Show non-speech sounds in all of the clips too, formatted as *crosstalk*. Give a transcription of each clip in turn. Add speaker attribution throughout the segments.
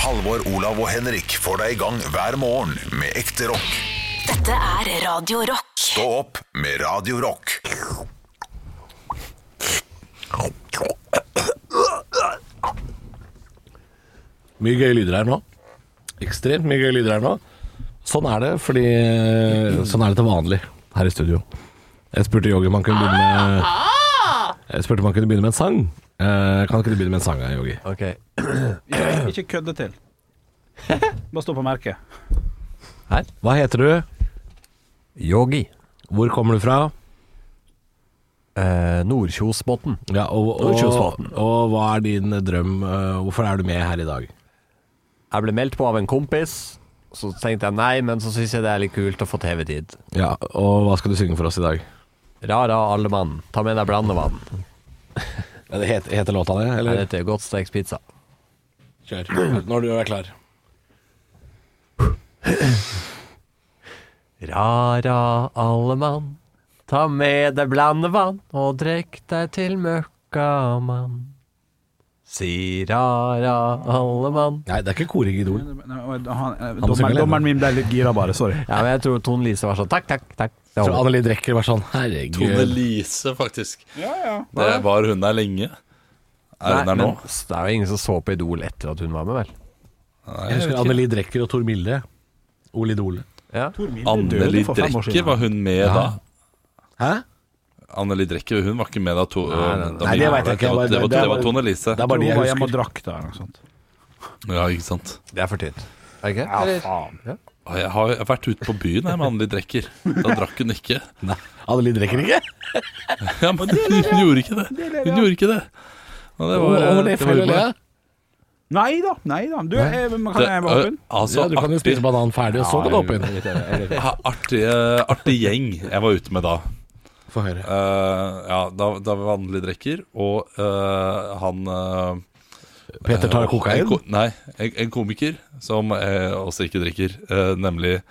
Speaker 1: Halvor, Olav og Henrik får deg i gang hver morgen med ekte rock.
Speaker 2: Dette er Radio Rock.
Speaker 1: Stå opp med Radio Rock.
Speaker 3: Mye gøye lyder her nå. Ekstremt mye gøye lyder her nå. Sånn er det, fordi sånn er det til vanlig her i studio. Jeg spurte Yogi om han kunne begynne med Jeg spurte om han kunne begynne med en sang. Eh, kan ikke du begynne med en sang, eh, Yogi?
Speaker 4: Ok,
Speaker 5: Ikke, *clears throat* ikke kødde *laughs* til. Bare stå på merket.
Speaker 4: her
Speaker 3: Hva heter du?
Speaker 4: Yogi
Speaker 3: Hvor kommer du fra?
Speaker 4: eh, Nordkjosbotn
Speaker 3: Ja, og,
Speaker 4: Og
Speaker 3: og,
Speaker 4: Kjosvatn.
Speaker 3: og hva er din drøm? eh, Hvorfor er du med her i dag?
Speaker 4: Jeg ble meldt på av en kompis Så tenkte jeg nei, men så synes jeg det er litt kult å få TV-tid
Speaker 3: Ja, Og hva skal du synge for oss i dag?
Speaker 4: Rara alle mann, ta med deg blandevann
Speaker 3: Ja, det heter, heter låta det?
Speaker 4: Her
Speaker 3: Eller?
Speaker 4: heter godt stekt pizza
Speaker 3: Kjør. Når du er klar.
Speaker 4: Rara alle mann, ta med deg blandevann Og drekk deg til møkka mann Si rara alle mann
Speaker 3: Nei, det er ikke koring i Idol.
Speaker 5: Men- men- han- eh,
Speaker 3: må synge
Speaker 5: Dommeren
Speaker 3: alene.
Speaker 5: dommeren min ble litt gira, bare. Sorry.
Speaker 4: Ja, men jeg tror Tone Lise var sånn takk, takk, takk
Speaker 3: Jeg tror Anneli Drecker var sånn Herregud.
Speaker 6: Tone Lise, faktisk.
Speaker 5: Ja, ja.
Speaker 6: Det var hun der lenge. Er hun
Speaker 4: Nei,
Speaker 6: der nå?
Speaker 4: men det er jo ingen som så på Idol etter at hun var med vel
Speaker 3: Jeg husker Anneli Drecker og Tor Mille. Ole Idole.
Speaker 4: Ja
Speaker 6: Anneli Drecker, var hun med da?
Speaker 3: Hæ?
Speaker 6: Anneli Drecker, hun var ikke med da. To, da
Speaker 3: Nei,
Speaker 6: vi
Speaker 3: det vet jeg
Speaker 6: var der.
Speaker 3: ikke. Jeg bare-
Speaker 6: Det var,
Speaker 3: det
Speaker 6: det
Speaker 3: er
Speaker 6: var
Speaker 3: bare-
Speaker 6: Tone Lise.
Speaker 3: Det er bare de
Speaker 5: jeg
Speaker 3: jeg
Speaker 5: var hjemme og
Speaker 3: husker.
Speaker 5: drakk da, eller noe sånt.
Speaker 6: Ja, ikke sant.
Speaker 4: Det er for tynt. Er det ikke? Eller-
Speaker 6: Å, Jeg har vært ute på byen jeg, med Anneli Drecker. Da drakk hun ikke.
Speaker 3: Nei, Anneli Drecker ikke?
Speaker 6: Ja, men hun gjorde ikke det. Hun gjorde ikke det. Og det var,
Speaker 3: Å, det er
Speaker 6: det var
Speaker 3: feil å le.
Speaker 6: humor.
Speaker 5: Nei da, nei da. Du, eh, men kan
Speaker 6: Det-
Speaker 5: jeg være åpen?
Speaker 6: altså,
Speaker 3: Ja, du kan jo spise
Speaker 6: artig-
Speaker 3: banan ferdig, og så kan du hoppe inn.
Speaker 6: Ja, artig, artig gjeng jeg var ute med da.
Speaker 3: Få høre.
Speaker 6: Eh, ja, da, da var Anneli Drecker, og eh, han eh,
Speaker 3: Peter tar kokain.
Speaker 6: En ko- nei, en, en komiker som eh, også ikke drikker, eh, nemlig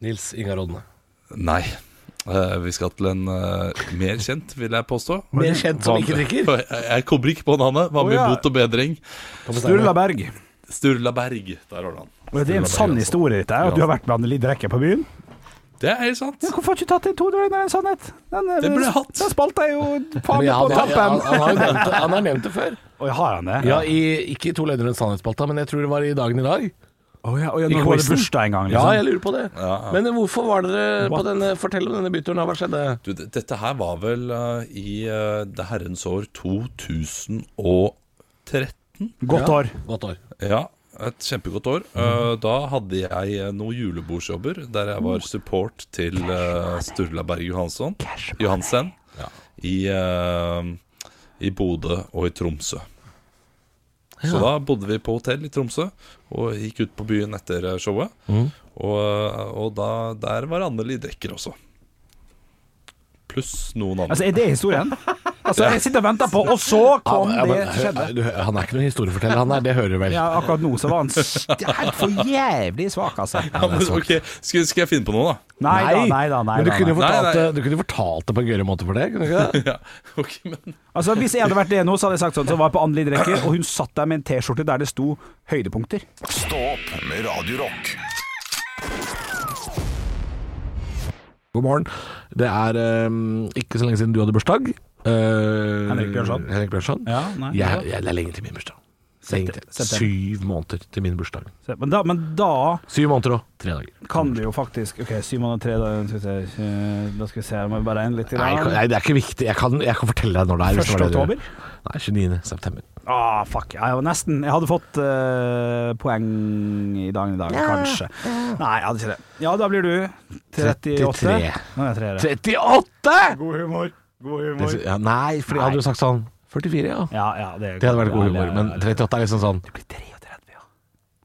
Speaker 3: Nils Ingar Odne.
Speaker 6: Nei. Eh, vi skal til en eh, mer kjent, vil jeg påstå.
Speaker 3: Mer kjent som ikke drikker.
Speaker 6: Jeg, jeg kommer ikke på navnet. Var med i
Speaker 5: Å, ja.
Speaker 6: Bot og bedring.
Speaker 5: Sturla Berg.
Speaker 6: Sturla Berg. Der har du han.
Speaker 5: Og Det er en sann historie, dette. her, At du har vært med Anneli Drekke på byen.
Speaker 6: Det er helt sant.
Speaker 5: Ja, hvorfor har du ikke tatt den to døgn er en sannhet? Den, eh,
Speaker 6: Den ble hatt.
Speaker 5: Den spalta jeg jo
Speaker 3: Men
Speaker 5: faen meg
Speaker 3: ja,
Speaker 5: på
Speaker 3: han, han, han,
Speaker 5: tampen.
Speaker 3: har jo nevnt det- han har nevnt det før.
Speaker 5: Og jeg har han det.
Speaker 3: Ja, i, Ikke i To løgner og en sannhetsspalta, men jeg tror det var i Dagen i dag.
Speaker 5: Å ja, og ja,
Speaker 3: I
Speaker 5: når var det
Speaker 3: quizen.
Speaker 5: bursdag en gang?
Speaker 3: Ja,
Speaker 5: Liksom.
Speaker 3: jeg lurer på det. Men hvorfor var dere på denne Fortell om denne byturen. Hva skjedde?
Speaker 6: Du, d- dette her var vel eh, i eh, det herrens år 2013.
Speaker 5: Godt år.
Speaker 3: Godt år.
Speaker 6: Ja, et kjempegodt år. Eh, da hadde jeg eh, noen julebordsjobber der jeg var support til eh, Sturla Berg Johansson, Johansen i, eh, i Bodø og i Tromsø. Så da bodde vi på hotell i Tromsø og gikk ut på byen etter eh, showet. Og, eh, og da, der var Anneli Drekker også. Pluss noen andre.
Speaker 5: Altså, er det
Speaker 3: *laughs*
Speaker 5: historien? Altså, jeg sitter og venter på, og så kom
Speaker 3: ja, men,
Speaker 5: det skjedde.
Speaker 3: hø- du, han er ikke noen historieforteller, han er. Det hører du vel.
Speaker 5: Ja, akkurat nå så var han st- helt for jævlig svak, altså.
Speaker 6: Ja, men, *laughs* ok, skal, skal jeg finne på noe, da? *laughs*
Speaker 5: Nei da, nei da, nei
Speaker 3: Men du
Speaker 5: da.
Speaker 3: kunne jo
Speaker 5: Nei.
Speaker 3: fortalt,
Speaker 6: Nei, nei.
Speaker 3: det- Du kunne jo fortalt det på en gøyere måte for det, kunne du ikke det?
Speaker 6: Ja, ok, men
Speaker 5: Altså, Hvis jeg hadde vært det nå, så hadde jeg sagt sånn. Så var jeg på Anneli Drecker, og hun satt der med en T-skjorte der det sto 'høydepunkter'.
Speaker 1: Stå opp med Radio Rock.
Speaker 3: *laughs* God morgen. Det er ehm, ikke så lenge siden du hadde bursdag. Eh,
Speaker 5: Henrik Bjørnson.
Speaker 3: Henrik Bjørnson.
Speaker 5: Ja, nei,
Speaker 3: jeg, jeg, det er lenge til min bursdag. Lenge til.
Speaker 5: september.
Speaker 3: Syv måneder til min bursdag.
Speaker 5: Så, men, da, men da
Speaker 3: Syv måneder og tre dager.
Speaker 5: kan du jo faktisk OK, 703, da skal vi se, eh, da skal vi se om jeg bare regner litt.
Speaker 3: Nei, jeg kan- nei, det er ikke viktig. Jeg kan, jeg kan fortelle deg når det er. hvis det
Speaker 5: 1.
Speaker 3: var det du-
Speaker 5: oktober?
Speaker 3: Nei, 29. september.
Speaker 5: Ah, fuck. Jeg var nesten. Jeg hadde fått eh, poeng i dagen i dag, kanskje. Nei, jeg hadde ikke det. Ja, da blir du 38.
Speaker 3: 33.
Speaker 5: Nå er jeg treere.
Speaker 3: 38!
Speaker 5: God humor. God humor.
Speaker 3: Det- Ja, nei, for jeg hadde jo sagt sånn 44, ja.
Speaker 5: Ja, ja, det,
Speaker 3: Det hadde vært god
Speaker 5: ja,
Speaker 3: humor.
Speaker 5: det-
Speaker 3: Men 38 er liksom sånn
Speaker 5: Det blir 33,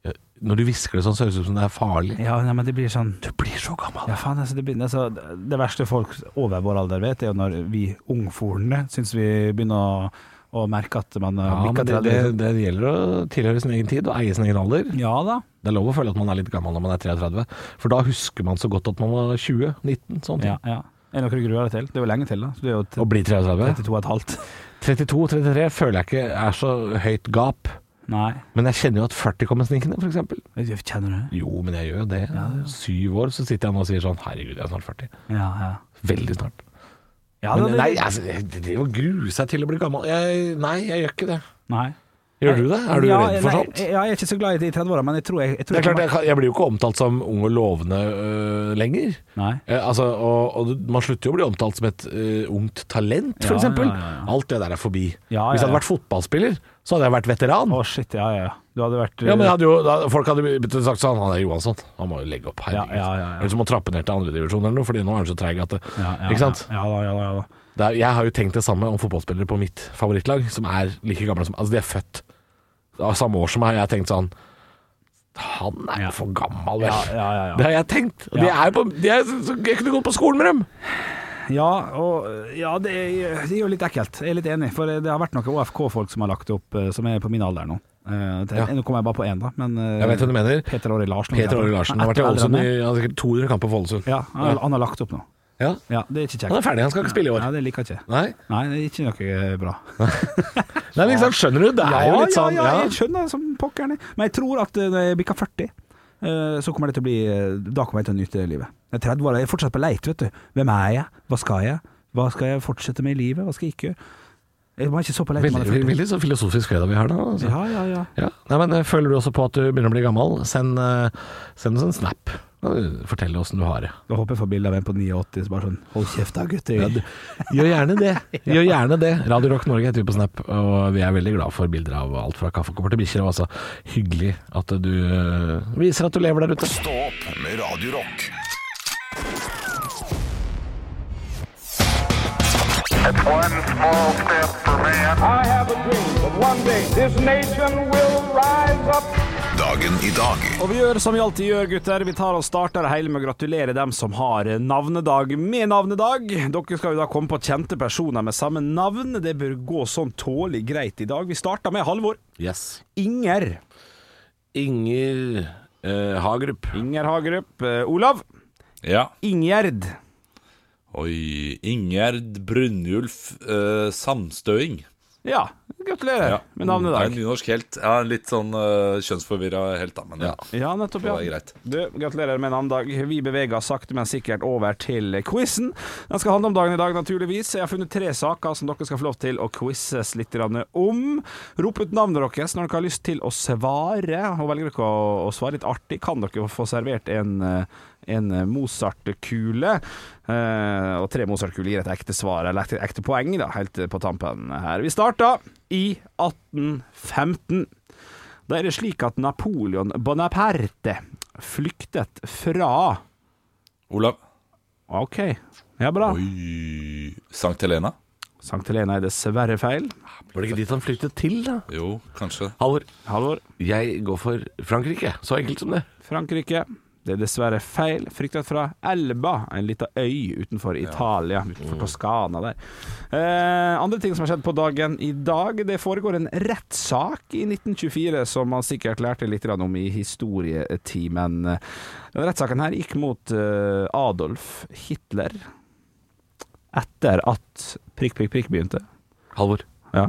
Speaker 5: ja.
Speaker 3: Når du hvisker det sånn, så høres det ut som det er farlig.
Speaker 5: Ja, nei, men det blir sånn Du blir så gammel. Ja, faen, altså, det, begynner, altså, det verste folk over vår alder vet, er jo når vi ungfolene syns vi begynner å, å merke at man har
Speaker 3: Ja,
Speaker 5: bikka
Speaker 3: men det,
Speaker 5: 30.
Speaker 3: det, det gjelder å tilhøre sin egen tid og eie sin egen alder.
Speaker 5: ja da.
Speaker 3: Det er lov å føle at man er litt gammel når man er 33, for da husker man så godt at man var 20, 19, sånn
Speaker 5: Ja, ja. Er det noe du gruer deg til? Det er jo lenge til, da. Så du er jo
Speaker 3: Å bli 33.
Speaker 5: 32 og et halvt.
Speaker 3: 32-33 føler jeg ikke er så høyt gap.
Speaker 5: Nei.
Speaker 3: Men jeg kjenner jo at 40 kommer snikende, f.eks.
Speaker 5: Jeg Kjenner du det?
Speaker 3: Jo, men jeg gjør jo det. Syv år så sitter jeg nå og sier sånn Herregud, jeg er snart 40.
Speaker 5: Ja, ja.
Speaker 3: Veldig snart.
Speaker 5: ja
Speaker 3: Men,
Speaker 5: det-
Speaker 3: nei, altså, det det å grue seg til å bli gammel jeg, Nei, jeg gjør ikke det.
Speaker 5: nei.
Speaker 3: Gjør du det? Er du
Speaker 5: ja,
Speaker 3: redd for sånt?
Speaker 5: Nei, ja, jeg er ikke så glad i det i 30-åra, men jeg tror jeg, jeg, tror
Speaker 3: Det er klart,
Speaker 5: jeg
Speaker 3: jeg, kan- jeg blir jo ikke omtalt som ung og lovende øh, lenger.
Speaker 5: Nei.
Speaker 3: Eh, altså, og, og du- man slutter jo å bli omtalt som et øh, ungt talent,
Speaker 5: Ja,
Speaker 3: for eksempel
Speaker 5: ja, ja, ja.
Speaker 3: Alt det der er forbi.
Speaker 5: Ja,
Speaker 3: Hvis jeg hadde
Speaker 5: ja, ja.
Speaker 3: vært fotballspiller, så hadde jeg vært veteran.
Speaker 5: Å, shit, ja, ja. ja. Du hadde vært
Speaker 3: Ja, men jeg hadde jo, da, Folk hadde begynt å sagt sånn Han er Johansson, han må jo legge opp. Herregud.
Speaker 5: Ja, ja, ja, ja.
Speaker 3: Eller så må han trappe ned til andredivisjon eller noe, Fordi nå er han så treig at det,
Speaker 5: ja, ja,
Speaker 3: Ikke sant?
Speaker 5: Ja, ja da, ja da. Ja, da.
Speaker 3: Det er, jeg har jo tenkt det samme om fotballspillere på mitt favorittlag, som er like gamle som Altså, de er født av samme år som meg. Jeg har tenkt sånn Han er
Speaker 5: Ja.
Speaker 3: jo for gammel, vel.
Speaker 5: Ja, ja, ja, ja.
Speaker 3: Det har jeg tenkt. Og de
Speaker 5: Ja.
Speaker 3: er jo på, de er, så, så- jeg kunne gått på skolen med dem.
Speaker 5: Ja, og ja, det er, det er jo litt ekkelt. Jeg er litt enig, for det har vært noen OFK-folk som har lagt opp, eh, som er på min alder nå. Eh, det-
Speaker 3: Ja.
Speaker 5: Nå kommer jeg bare på én, da, men eh,
Speaker 3: Jeg vet hva du mener.
Speaker 5: Peter Åre Larsen.
Speaker 3: Peter Åre Larsen har vært i
Speaker 5: Etter-
Speaker 3: Ålesund
Speaker 5: eldre enn meg.
Speaker 3: i han har sikkert 200 kamper for Ålesund.
Speaker 5: Ja, han, han har lagt opp nå.
Speaker 3: Ja.
Speaker 5: Ja, Det er ikke
Speaker 3: Han
Speaker 5: kjekt.
Speaker 3: er ferdig, han skal ikke spille i
Speaker 5: Ja,
Speaker 3: år.
Speaker 5: det liker jeg ikke.
Speaker 3: Nei,
Speaker 5: Nei, det er ikke noe eh, bra.
Speaker 3: Nei men ikke sant, skjønner du? Det er jo litt sånn
Speaker 5: ja, ja,
Speaker 3: ja.
Speaker 5: jeg skjønner som pokkeren. jeg. Men jeg tror at eh, når jeg bikker 40, eh, så kommer det til å bli eh, Da kommer jeg til å nyte livet. Jeg er 30 år, jeg er fortsatt på leit, vet du. Hvem er jeg? Hva skal jeg? Hva skal jeg fortsette med i livet? Hva skal jeg ikke gjøre? Jeg var ikke så på leit når
Speaker 3: Veldig,
Speaker 5: jeg er 40.
Speaker 3: veldig så filosofisk fredag vi har nå. Altså.
Speaker 5: Ja, ja, ja.
Speaker 3: Ja. Nei, men eh, Føler du også på at du begynner å bli gammel, send, eh, send oss en snap. Eh, Fortell åssen du har det.
Speaker 5: Da håper jeg får bilde av en på 89, så bare sånn Hold kjeft da, gutter.
Speaker 3: Ja, du- Gjør gjerne det. Gjør gjerne det. Radio Rock Norge heter vi på Snap, og vi er veldig glad for bilder av alt fra kaffekopper til bikkjer. Og altså hyggelig at du eh, viser at du lever der ute.
Speaker 1: Stå opp med Radio Rock.
Speaker 7: One small step for man. I have a dream that one day this nation will rise up.
Speaker 1: Dagen i dag
Speaker 5: Og vi gjør som vi alltid gjør, gutter. Vi tar og starter det hele med å gratulere dem som har navnedag med navnedag. Dere skal jo da komme på kjente personer med samme navn. Det bør gå sånn tålelig greit i dag. Vi starter med Halvor.
Speaker 3: Yes.
Speaker 5: Inger.
Speaker 3: Inger eh, Hagerup.
Speaker 5: Inger Hagerup. Eh, Olav.
Speaker 6: Ja.
Speaker 5: Ingjerd.
Speaker 6: Oi. Ingjerd Brynjulf eh, Samstøing.
Speaker 5: Ja, Mm, gratulerer
Speaker 6: Ja.
Speaker 5: med navnedag.
Speaker 6: Det er en nynorsk helt. Ja, en litt sånn uh, kjønnsforvirra helt, da. Men ja.
Speaker 5: Ja, nettopp,
Speaker 6: Det er
Speaker 5: ja.
Speaker 6: greit.
Speaker 5: Du, gratulerer med navnedag. Vi beveger oss sakte, men sikkert over til quizen. Den skal handle om dagen i dag, naturligvis. Jeg har funnet tre saker som dere skal få lov til å quizes litt grann om. Rop ut navnet deres når dere har lyst til å svare. Og velger dere å, å svare litt artig, kan dere få servert en eh, en Mozart-kule. Eh, og tre Mozart-kuler gir et ekte svar, eller et ekte poeng, da, helt på tampen her. Vi starta i 1815. Da er det slik at Napoleon Bonaparte flyktet fra
Speaker 6: Olav.
Speaker 5: OK, ja bra.
Speaker 6: Oi. Sankt Helena?
Speaker 5: Sankt Helena er dessverre feil.
Speaker 3: Var det ikke dit han flyttet til, da?
Speaker 6: Jo, kanskje.
Speaker 3: Halvor,
Speaker 5: Halvor,
Speaker 3: jeg går for Frankrike. Så enkelt som det.
Speaker 5: Frankrike. Det er dessverre feil. Flyktet fra Elba, en lita øy utenfor Italia. Utenfor Toskana der. Eh, andre ting som har skjedd på dagen i dag. Det foregår en rettssak i 1924 som man sikkert lærte litt grann om i historietimen. Denne rettssaken her gikk mot eh, Adolf Hitler etter at prikk, prikk, prikk begynte.
Speaker 3: Halvor,
Speaker 5: Ja.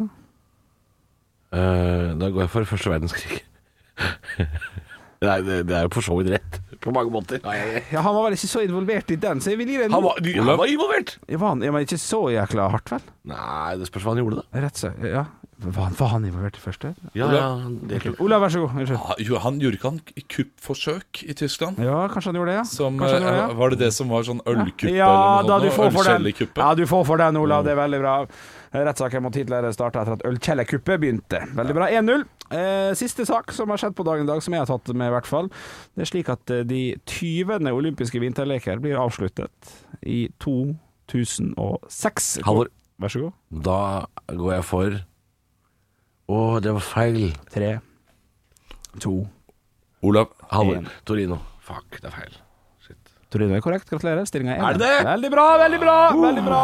Speaker 3: eh, da går jeg for første verdenskrig. *laughs* Nei, det, det er jo for så vidt rett, på mange måter.
Speaker 5: ja, han var vel ikke så involvert i den, så jeg vil gi deg en
Speaker 3: Han var, du, han var involvert!
Speaker 5: Var han ja, men ikke så jækla hardt, vel?
Speaker 3: Nei, det spørs hva han gjorde, da.
Speaker 5: Rettssak, ja. Var, var han involvert i første?
Speaker 3: Ja, ja, det er klart.
Speaker 5: Olav, vær så god. Unnskyld.
Speaker 6: Ah, jo, Han gjorde ikke han kuppforsøk i Tyskland?
Speaker 5: Ja, kanskje han gjorde det, ja.
Speaker 6: Som,
Speaker 5: Kanskje han
Speaker 6: eh,
Speaker 5: gjorde det,
Speaker 6: Var det det som var sånn
Speaker 5: ja.
Speaker 6: ølkuppe?
Speaker 5: ja da, du får for den.
Speaker 6: Ølkjellekuppe?
Speaker 5: Ja, du får for den,
Speaker 3: Mm.
Speaker 5: Olav. Det er veldig bra. Rettssaken mot Hitler starta etter at ølkjellerkuppet begynte. Veldig bra. 1-0. Eh, siste sak som har skjedd på dagen i dag, som jeg har tatt med, i hvert fall. Det er slik at eh, de 20. olympiske vinterleker blir avsluttet i 2006.
Speaker 3: Halvor,
Speaker 5: Vær så god.
Speaker 3: da går jeg for Å, det var feil.
Speaker 5: Tre, to
Speaker 6: Olav.
Speaker 3: Halvor.
Speaker 5: En.
Speaker 3: Torino. Fuck, det er feil.
Speaker 5: Torino er korrekt, gratulerer. Stillinga er
Speaker 3: Er det det?
Speaker 5: Veldig bra, veldig bra! veldig bra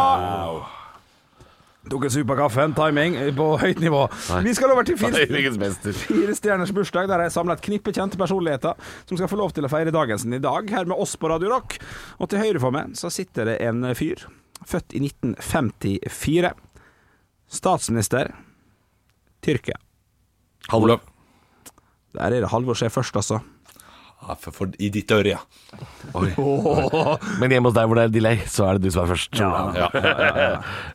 Speaker 5: Tok en sup av kaffen, timing eh, på høyt nivå. Vi skal over til fire, fire stjerners bursdag, der jeg samla et knippe kjente personligheter som skal få lov til å feire dagen sin i dag, her med oss på Radio Rock. Og til høyre for meg så sitter det en fyr, født i 1954. Statsminister Tyrkia.
Speaker 3: Halvor.
Speaker 6: Ah, Olav.
Speaker 5: Der er det Halvor skjer først, altså.
Speaker 6: Ja, Ah, for, for, I ditt øre, ja.
Speaker 3: Men hjemme hos deg hvor det er delay, så er det du som er først.
Speaker 6: ja, ja,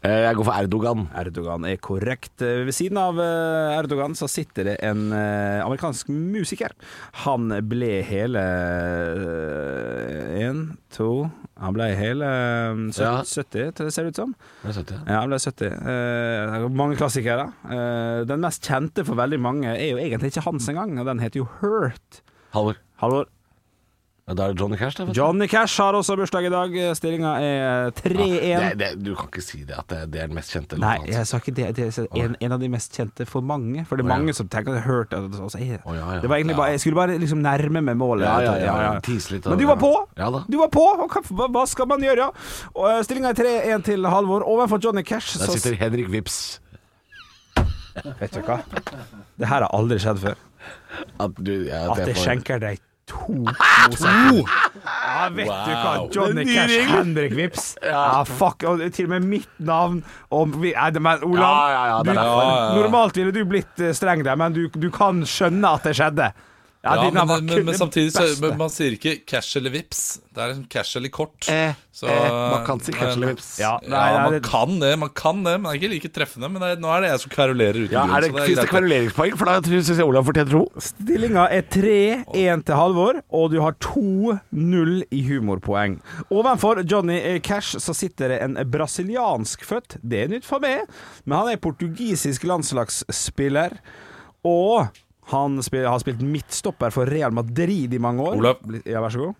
Speaker 3: Eh, Jeg går for Erdogan.
Speaker 5: Erdogan er korrekt. Eh, Ved siden av eh, Erdogan så sitter det en eh, amerikansk musiker. Han ble hele Én, to Han ble hele eh, sø-
Speaker 3: Ja.
Speaker 5: 70, tror jeg det ser ut som.
Speaker 3: Ja,
Speaker 5: Ja, han ble 70. Eh, mange klassikere. Eh, den mest kjente for veldig mange er jo egentlig ikke hans engang, og den heter jo Hurt.
Speaker 3: Halvor.
Speaker 5: Halvor.
Speaker 3: Ja, Da er det Johnny Cash, da. vet du.
Speaker 5: Johnny Cash har også bursdag i dag. Stillinga er 3-1.
Speaker 3: Ja, Ah, det, det, du kan ikke si det at det, det er den mest kjente
Speaker 5: Nei,
Speaker 3: låten
Speaker 5: jeg
Speaker 3: hans.
Speaker 5: sa ikke det. det er en, en av de mest kjente for mange. For det
Speaker 3: Å,
Speaker 5: er
Speaker 3: ja.
Speaker 5: mange som tenker at jeg har hørt det. og så sier jeg det.
Speaker 3: Å, ja, ja.
Speaker 5: Det var egentlig
Speaker 3: Ja.
Speaker 5: bare Jeg skulle bare liksom nærme meg målet.
Speaker 3: Ja, ja, ja, ja. Tise litt, da.
Speaker 5: Men du var på!
Speaker 3: Ja da.
Speaker 5: Du var på! Og hva, hva- hva skal man gjøre? Og, eh, Stillinga er 3-1 til Halvor. Overfor Johnny Cash
Speaker 3: Der
Speaker 5: så
Speaker 3: sitter Henrik Vips.
Speaker 5: Vet du hva? Det her har aldri skjedd før.
Speaker 3: At, du, ja,
Speaker 5: At
Speaker 3: jeg
Speaker 5: jeg
Speaker 3: får-
Speaker 5: skjenker deg
Speaker 3: *laughs*
Speaker 5: to mosaikk. Ja, vet du hva? Johnny Cash, Henrik Vips. Ja, fuck. Og til og med mitt navn og vi, nei, det- Men Olav,
Speaker 3: Ja, ja, ja,
Speaker 5: du,
Speaker 3: det er
Speaker 6: derfor.
Speaker 5: normalt ville du blitt eh, streng der, men du, du kan skjønne at det skjedde. Ja,
Speaker 6: Ja,
Speaker 5: din
Speaker 6: men,
Speaker 5: var
Speaker 6: men,
Speaker 5: kun
Speaker 6: men,
Speaker 5: det
Speaker 6: samtidig så
Speaker 5: beste.
Speaker 6: men man sier ikke cash eller vips. Det er liksom cash eller kort.
Speaker 3: Eh,
Speaker 6: Så,
Speaker 3: eh, man kan si Cash eller Vips.
Speaker 5: ja, nei,
Speaker 6: ja,
Speaker 5: nei,
Speaker 6: man
Speaker 5: det-
Speaker 6: kan det, man kan det, men det er ikke like treffende. Men det er, nå er det jeg som kverulerer uten
Speaker 3: Ja, er det,
Speaker 6: grunn. så
Speaker 3: Fins det
Speaker 6: greit.
Speaker 3: kveruleringspoeng? For da syns jeg Olav fortjener to.
Speaker 5: Stillinga er 3-1 til Halvor, og du har 2-0 i humorpoeng. Ovenfor Johnny Cash så sitter det en brasiliansk født, det er nytt for meg, men han er portugisisk landslagsspiller, og han spil- har spilt midtstopper for Real Madrid i mange år.
Speaker 6: Olav.
Speaker 5: Ja, vær så god.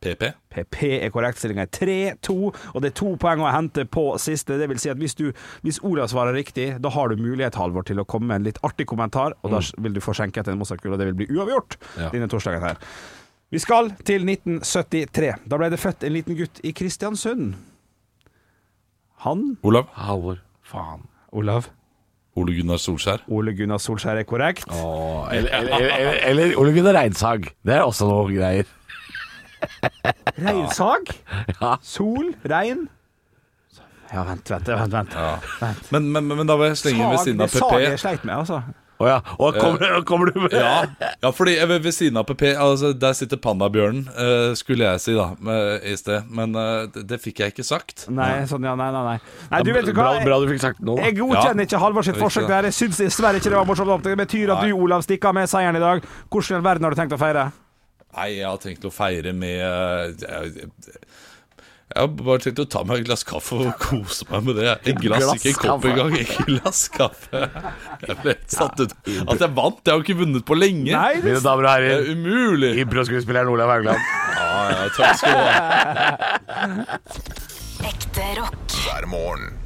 Speaker 6: PP.
Speaker 5: PP er korrekt, stillinga er 3-2, og det er to poeng å hente på siste. Det vil si at hvis, du, hvis Olav svarer riktig, da har du mulighet, Halvor, til å komme med en litt artig kommentar, og da vil du få skjenket en Mozart-kule, og det vil bli uavgjort
Speaker 3: Ja.
Speaker 5: denne torsdagen her. Vi skal til 1973. Da ble det født en liten gutt i Kristiansund. Han
Speaker 6: Olav.
Speaker 3: Halvor. Faen.
Speaker 5: Olav.
Speaker 6: Ole Gunnar Solskjær.
Speaker 5: Ole Gunnar Solskjær er korrekt.
Speaker 3: Åh, eller, eller, eller, eller Ole Gunnar Reinsag. Det er også noe greier.
Speaker 5: Reinsag.
Speaker 3: Ja.
Speaker 5: Sol. Regn. Ja, vent, vent, vent. vent.
Speaker 6: Men, men, men, men da vil jeg slenge inn ved
Speaker 5: Sag,
Speaker 6: siden
Speaker 5: det
Speaker 6: av
Speaker 5: sag jeg
Speaker 6: PP.
Speaker 5: sleit med, altså.
Speaker 3: Å ja. Å, kommer, kommer du med
Speaker 6: Ja, ja, fordi jeg ved ved siden av PP altså, Der sitter pandabjørnen, eh, skulle jeg si da, med, i sted. Men eh, det, det fikk jeg ikke sagt.
Speaker 5: Nei, sånn, ja, nei, nei, nei. nei du vet jo hva,
Speaker 3: Bra, bra du fikk sagt det nå.
Speaker 5: jeg
Speaker 3: da.
Speaker 5: godkjenner
Speaker 6: Ja.
Speaker 5: ikke Halvor sitt
Speaker 6: Riktig,
Speaker 5: forsøk
Speaker 6: da.
Speaker 5: der. Jeg syns dessverre ikke det var morsomt. nok. Det betyr at
Speaker 6: Nei.
Speaker 5: du, Olav, stikker av med seieren i dag. Hvordan i all verden har du tenkt å feire?
Speaker 6: Nei, jeg har tenkt å feire med eh, Jeg, jeg, jeg har bare tenkt å ta meg et glass kaffe og kose meg med det. Et glass,
Speaker 3: Glass
Speaker 6: ikke en kopp
Speaker 3: kaffe.
Speaker 6: engang. Et glass kaffe. Jeg ble helt satt ut. At jeg vant, jeg har jo ikke vunnet på lenge.
Speaker 5: Nei, det
Speaker 3: Mine damer og
Speaker 6: Det er
Speaker 3: herrer,
Speaker 6: umulig.
Speaker 3: improskuespilleren Olav Haugland.
Speaker 6: Ja, ja, takk skal du ha.
Speaker 2: Ekte rock.
Speaker 1: hver morgen.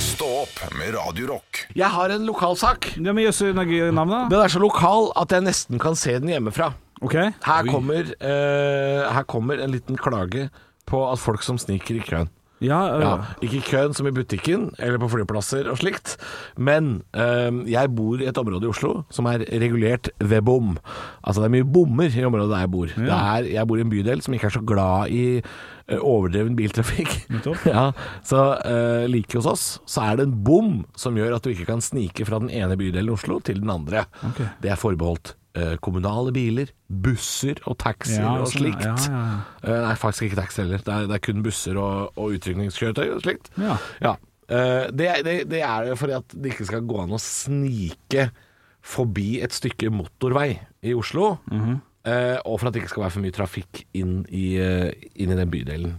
Speaker 1: Stå opp med Radio Rock.
Speaker 3: *laughs* Jeg har en lokalsak.
Speaker 5: Ja, men Jøss, navnet?
Speaker 3: Den er så lokal at jeg nesten kan se den hjemmefra.
Speaker 5: OK.
Speaker 3: Her kommer, eh, her kommer en liten klage på at folk som sniker i køen.
Speaker 5: Ja,
Speaker 3: Ja, ikke i køen som i butikken eller på flyplasser og slikt, men øhm, jeg bor i et område i Oslo som er regulert ved bom. Altså det er mye bommer i området der jeg bor. Det er, jeg bor i en bydel som ikke er så glad i øh, overdreven biltrafikk. *laughs* ja, så øh, like hos oss så er det en bom som gjør at du ikke kan snike fra den ene bydelen i Oslo til den andre. Det er forbeholdt øh, kommunale biler, busser og taxier
Speaker 5: Ja,
Speaker 3: og
Speaker 5: sånn,
Speaker 3: slikt.
Speaker 5: ja, ja, ja.
Speaker 3: Eh, Nei, faktisk ikke taxi heller. Det er, det er kun busser og, og utrykningskjøretøy og slikt.
Speaker 5: Ja.
Speaker 3: Eh, det, det, det er jo fordi at det ikke skal gå an å snike forbi et stykke motorvei i Oslo. eh, og for at det ikke skal være for mye trafikk inn i, eh, inn i den bydelen.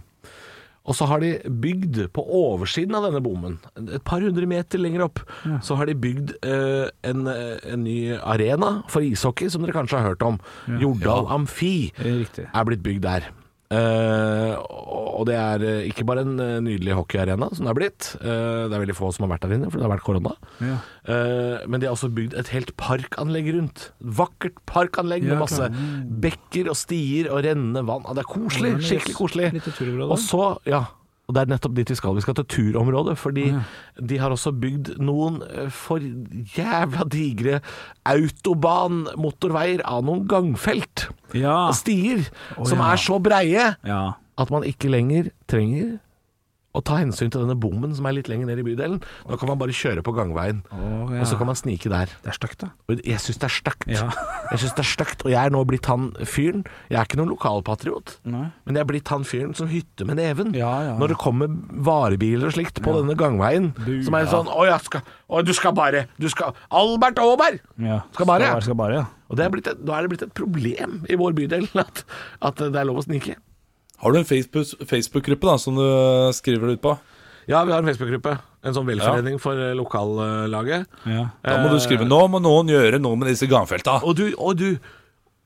Speaker 3: Og så har de bygd på oversiden av denne bommen, et par hundre meter lenger opp, så har de bygd eh, en, en ny arena for ishockey, som dere kanskje har hørt om. Jordal Amfi
Speaker 5: Riktig.
Speaker 3: er blitt bygd der. Eh, og det er eh, ikke bare en eh, nydelig hockeyarena som det er blitt. Eh, det er veldig få som har vært der inne, for det har vært korona.
Speaker 5: Ja.
Speaker 3: Eh, men de har også bygd et helt parkanlegg rundt. Vakkert parkanlegg
Speaker 5: Ja,
Speaker 3: med masse
Speaker 5: klar. Mm.
Speaker 3: bekker og stier og rennende vann. Ah, Det er koselig.
Speaker 5: Ja, men det er
Speaker 3: Skikkelig koselig.
Speaker 5: litt turområde.
Speaker 3: Og så, ja og Det er nettopp dit vi skal. Vi skal til turområdet. Fordi de har også bygd noen eh, for jævla digre autobanmotorveier av noen gangfelt
Speaker 5: Ja.
Speaker 3: stier som
Speaker 5: Ah. ja.
Speaker 3: er så breie
Speaker 5: ja.
Speaker 3: at man ikke lenger trenger Og ta hensyn til denne bommen som er litt lenger ned i bydelen. Nå kan man bare kjøre på gangveien,
Speaker 5: Å, ja.
Speaker 3: og så kan man snike der.
Speaker 5: Det er stygt, da.
Speaker 3: Og jeg syns det er stygt.
Speaker 5: Ja.
Speaker 3: *laughs* jeg syns det er stygt, og jeg er nå blitt han fyren. Jeg er ikke noen lokalpatriot,
Speaker 5: Nei.
Speaker 3: men jeg er blitt han fyren som hytter med neven.
Speaker 5: Ja, ja.
Speaker 3: Når det kommer varebiler og slikt på denne gangveien, som er sånn Å, jeg skal, å, du skal bare Du skal Albert Aaberg! Skal bare, ja.
Speaker 5: Skal bare, ja.
Speaker 3: Og det er blitt et, da er det blitt et problem i vår bydel at, at det er lov å snike.
Speaker 6: Har du en Facebook- Facebook-gruppe da som du skriver det ut på?
Speaker 3: Ja, vi har en Facebook-gruppe. En sånn velforening for eh, lokallaget.
Speaker 5: Ja.
Speaker 6: Da må du skrive 'Nå må noen gjøre noe med disse gangfelta'.
Speaker 3: Og du, og du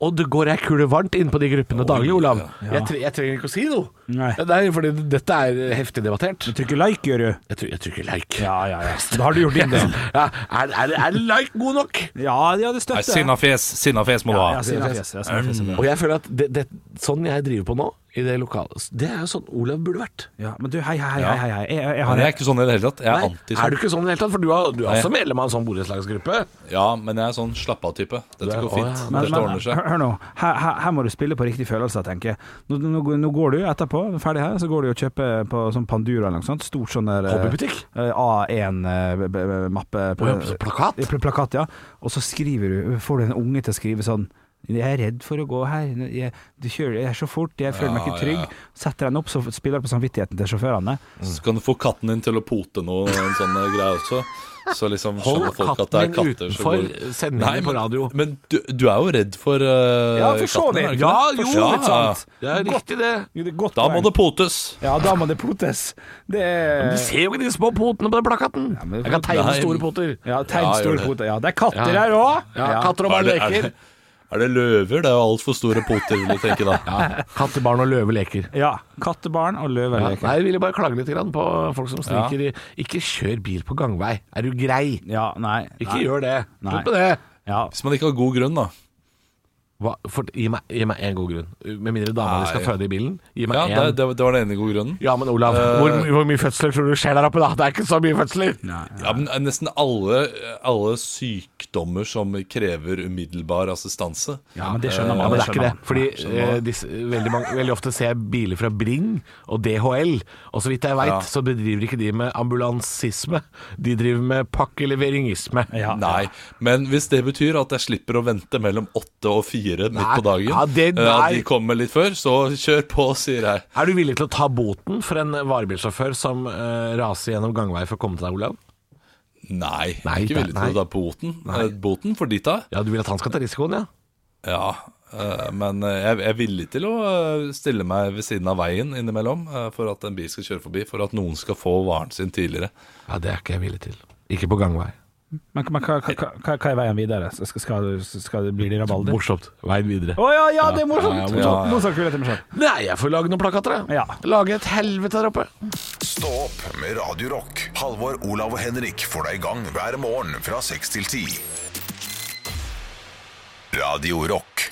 Speaker 3: og det går ei kule varmt inn på de gruppene daglig, Olav. Jeg, tre, jeg trenger ikke å si noe.
Speaker 5: Nei.
Speaker 3: Nei, fordi dette er eh, heftig debattert.
Speaker 5: Trykker like, gjør du.
Speaker 3: Jeg, try- jeg trykker like.
Speaker 5: Ja, ja, ja. Da Mm. har du gjort din del.
Speaker 3: *laughs* Ja, er, er, er like god nok?
Speaker 5: Ja, ja, det
Speaker 6: Nei,
Speaker 5: støtter jeg.
Speaker 6: Sinnafjes sinnafjes må du
Speaker 5: Ja,
Speaker 6: ha. Mm.
Speaker 5: ja, sinnafjes, ja, sinnafjes er bra.
Speaker 3: Og jeg føler at det, det, sånn jeg driver på nå, i det lokale Det er jo sånn Olav burde vært.
Speaker 5: Ja, men du, hei, hei, hei, hei, hei. Jeg, jeg, jeg
Speaker 6: Men
Speaker 5: har
Speaker 6: jeg er ikke sånn i det hele tatt. Jeg er
Speaker 3: Nei,
Speaker 6: anti
Speaker 3: er
Speaker 6: sånn.
Speaker 3: du ikke sånn i det hele tatt? For du er, du er
Speaker 6: Nei.
Speaker 3: også medlem av en sånn borettslagsgruppe.
Speaker 6: Ja, men jeg er sånn slapp av-type. Dette
Speaker 3: er-
Speaker 6: går
Speaker 3: å,
Speaker 6: fint.
Speaker 3: ja.
Speaker 5: men,
Speaker 6: Dette
Speaker 5: men,
Speaker 6: ordner seg.
Speaker 5: hør, hør nå, her, her, her må du spille på riktig følelse, tenker jeg. Nå, nå, nå går du etterpå, ferdig her, så går du og kjøper på sånn Pandura eller noe sånt. Stort sånn der eh,
Speaker 3: Hobbybutikk?
Speaker 5: eh, A1-mappe.
Speaker 3: Å, ja, så plakat?
Speaker 5: Plakat, ja. Og så skriver du, får du en unge til å skrive sånn jeg er redd for å gå her. Jeg, du kjører, jeg er så fort, jeg føler meg
Speaker 6: Ja,
Speaker 5: ikke trygg.
Speaker 6: ja.
Speaker 5: Setter den opp, så spiller du på samvittigheten til sjåførene.
Speaker 6: Så kan du få katten din til å pote noe, en sånn eh, greie også. Så liksom
Speaker 3: Hold
Speaker 6: skjønner folk at det er
Speaker 3: katten din
Speaker 6: katter som
Speaker 3: utenfor
Speaker 6: går Nei,
Speaker 3: sendingen på
Speaker 6: men-
Speaker 3: radio.
Speaker 6: Men du, du er jo redd for eh,
Speaker 5: Ja, for så
Speaker 6: katten, er
Speaker 5: vidt.
Speaker 6: du ikke
Speaker 5: Ja,
Speaker 6: det?
Speaker 5: jo,
Speaker 6: Ja.
Speaker 5: litt sant.
Speaker 3: Det er riktig, det.
Speaker 5: Godt
Speaker 6: Da
Speaker 5: poeng.
Speaker 6: må det potes.
Speaker 5: Ja, da må det potes. Det er
Speaker 3: Du ser jo ikke de små potene på den plakaten.
Speaker 5: men-
Speaker 3: Jeg kan tegne
Speaker 6: Nei.
Speaker 3: store poter.
Speaker 5: Ja, tegn
Speaker 6: Ja,
Speaker 5: store
Speaker 6: gjør det.
Speaker 5: poter. Ja, det er katter
Speaker 3: Ja.
Speaker 5: her òg!
Speaker 3: Ja, Katter og barn
Speaker 6: Er det, er,
Speaker 3: leker.
Speaker 6: det,
Speaker 3: *laughs*
Speaker 6: er det løver? Det er jo altfor store poter, vil jeg tenke
Speaker 3: *laughs*
Speaker 6: da.
Speaker 3: Katter, barn og løve leker.
Speaker 5: Ja, kattebarn og løver
Speaker 3: Ja,
Speaker 5: leker.
Speaker 3: nei, jeg ville bare klage litt grann på folk som sniker i Ikke kjør bil på gangvei. Er du grei?
Speaker 5: Ja, nei.
Speaker 3: Ikke
Speaker 5: nei.
Speaker 3: gjør det.
Speaker 5: Nei.
Speaker 3: Slutt med det.
Speaker 5: Ja.
Speaker 6: Hvis man ikke har god grunn, da.
Speaker 3: Hva, for, gi, meg, gi meg en god grunn. Med mindre dama di skal
Speaker 6: Nei.
Speaker 3: føde i bilen. Gi
Speaker 6: Ja,
Speaker 3: meg
Speaker 6: det,
Speaker 3: én.
Speaker 6: det, det var den ene gode grunnen.
Speaker 3: Ja, men Olav, hvor, hvor mye fødsler tror du skjer der oppe, da? Det er ikke så mye fødsler.
Speaker 6: Ja, men eh, Nesten alle, alle sykdommer som krever umiddelbar assistanse.
Speaker 5: ja, men det skjønner
Speaker 3: Ja,
Speaker 5: man.
Speaker 3: men det er ikke det.
Speaker 5: skjønner man.
Speaker 3: Fordi eh, disse, veldig, mange, veldig ofte ser jeg biler fra Bring og DHL, og så vidt jeg veit,
Speaker 6: Ja.
Speaker 3: så bedriver ikke de med ambulansisme. De driver med pakkeleveringisme.
Speaker 5: Ja.
Speaker 6: Nei, men hvis det betyr at jeg slipper å vente mellom åtte og fire midt
Speaker 3: Nei,
Speaker 6: på dagen,
Speaker 3: ja, det-
Speaker 6: eh, at
Speaker 3: nei.
Speaker 6: de kommer litt før, så kjør på, sier jeg.
Speaker 3: Er du villig til å ta boten for en varebilsjåfør som eh, raser gjennom gangvei for å komme til deg, Olav?
Speaker 6: Nei, jeg
Speaker 3: Nei,
Speaker 6: er ikke
Speaker 3: det-
Speaker 6: villig til å ta boten. Eh, Boten for de ta.
Speaker 3: Ja, du vil at han skal ta risikoen, ja?
Speaker 6: Ja, eh, men eh, jeg jeg er villig til å eh, stille meg ved siden av veien innimellom eh, for at en bil skal kjøre forbi, for at noen skal få varen sin tidligere.
Speaker 3: Ja, det er ikke jeg villig til. Ikke på gangvei.
Speaker 5: Men, men hva, hva, hva, hva er veien videre? Skal, skal, du- skal det bli de rabalder? Å
Speaker 3: Morsomt. Veien videre.
Speaker 5: ja, ja, det er morsomt!
Speaker 6: Ja, ja,
Speaker 5: morsomt.
Speaker 6: ja, ja.
Speaker 5: Nå snakker vi litt om skjønn.
Speaker 3: Nei, jeg får lage noen plakater, jeg.
Speaker 5: Ja.
Speaker 3: Lage et helvete der oppe.
Speaker 1: Stå opp med Radio Rock. Halvor, Olav og Henrik får deg i gang hver morgen fra 6 til 10. Radio Rock.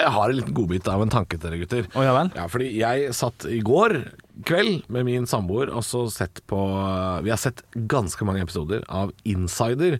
Speaker 3: Jeg har en liten godbit av en tanke til dere, gutter.
Speaker 5: Å, ja vel?
Speaker 3: Ja, fordi jeg satt i går kveld med min samboer og så sett på Vi har sett ganske mange episoder av Insider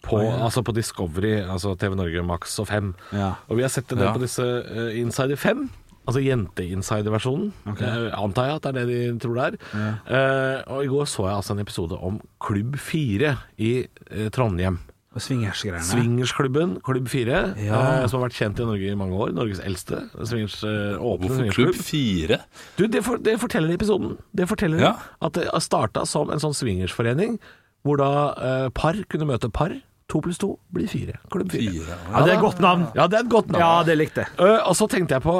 Speaker 3: på, altså på Discovery, altså TV Norge Max og 5.
Speaker 5: Ja.
Speaker 3: Og vi har sett en del
Speaker 6: Ja.
Speaker 3: på disse eh, Insider 5. Altså jente-insider-versjonen, eh, antar jeg at det er det de tror det er. Eh, og i går så jeg altså en episode om Klubb 4 i eh, Trondheim.
Speaker 5: Og Swingersgreiene.
Speaker 3: Swingersklubben, klubb 4,
Speaker 5: Ja.
Speaker 3: eh, som har vært kjent i Norge i mange år. Norges eldste swingers, eh, åpne
Speaker 6: Hvorfor
Speaker 3: swingersklubb.
Speaker 6: klubb fire?
Speaker 3: Du, det, for, det forteller de i episoden. Det forteller de
Speaker 6: Ja.
Speaker 3: At det starta som en sånn swingersforening, hvor da eh, par kunne møte par. To pluss to blir fire. Klubb fire.
Speaker 6: Fire, ja.
Speaker 5: Ja, det er et godt navn.
Speaker 3: Ja, det er et godt navn.
Speaker 5: Ja, det likte jeg.
Speaker 3: Eh, og så tenkte jeg på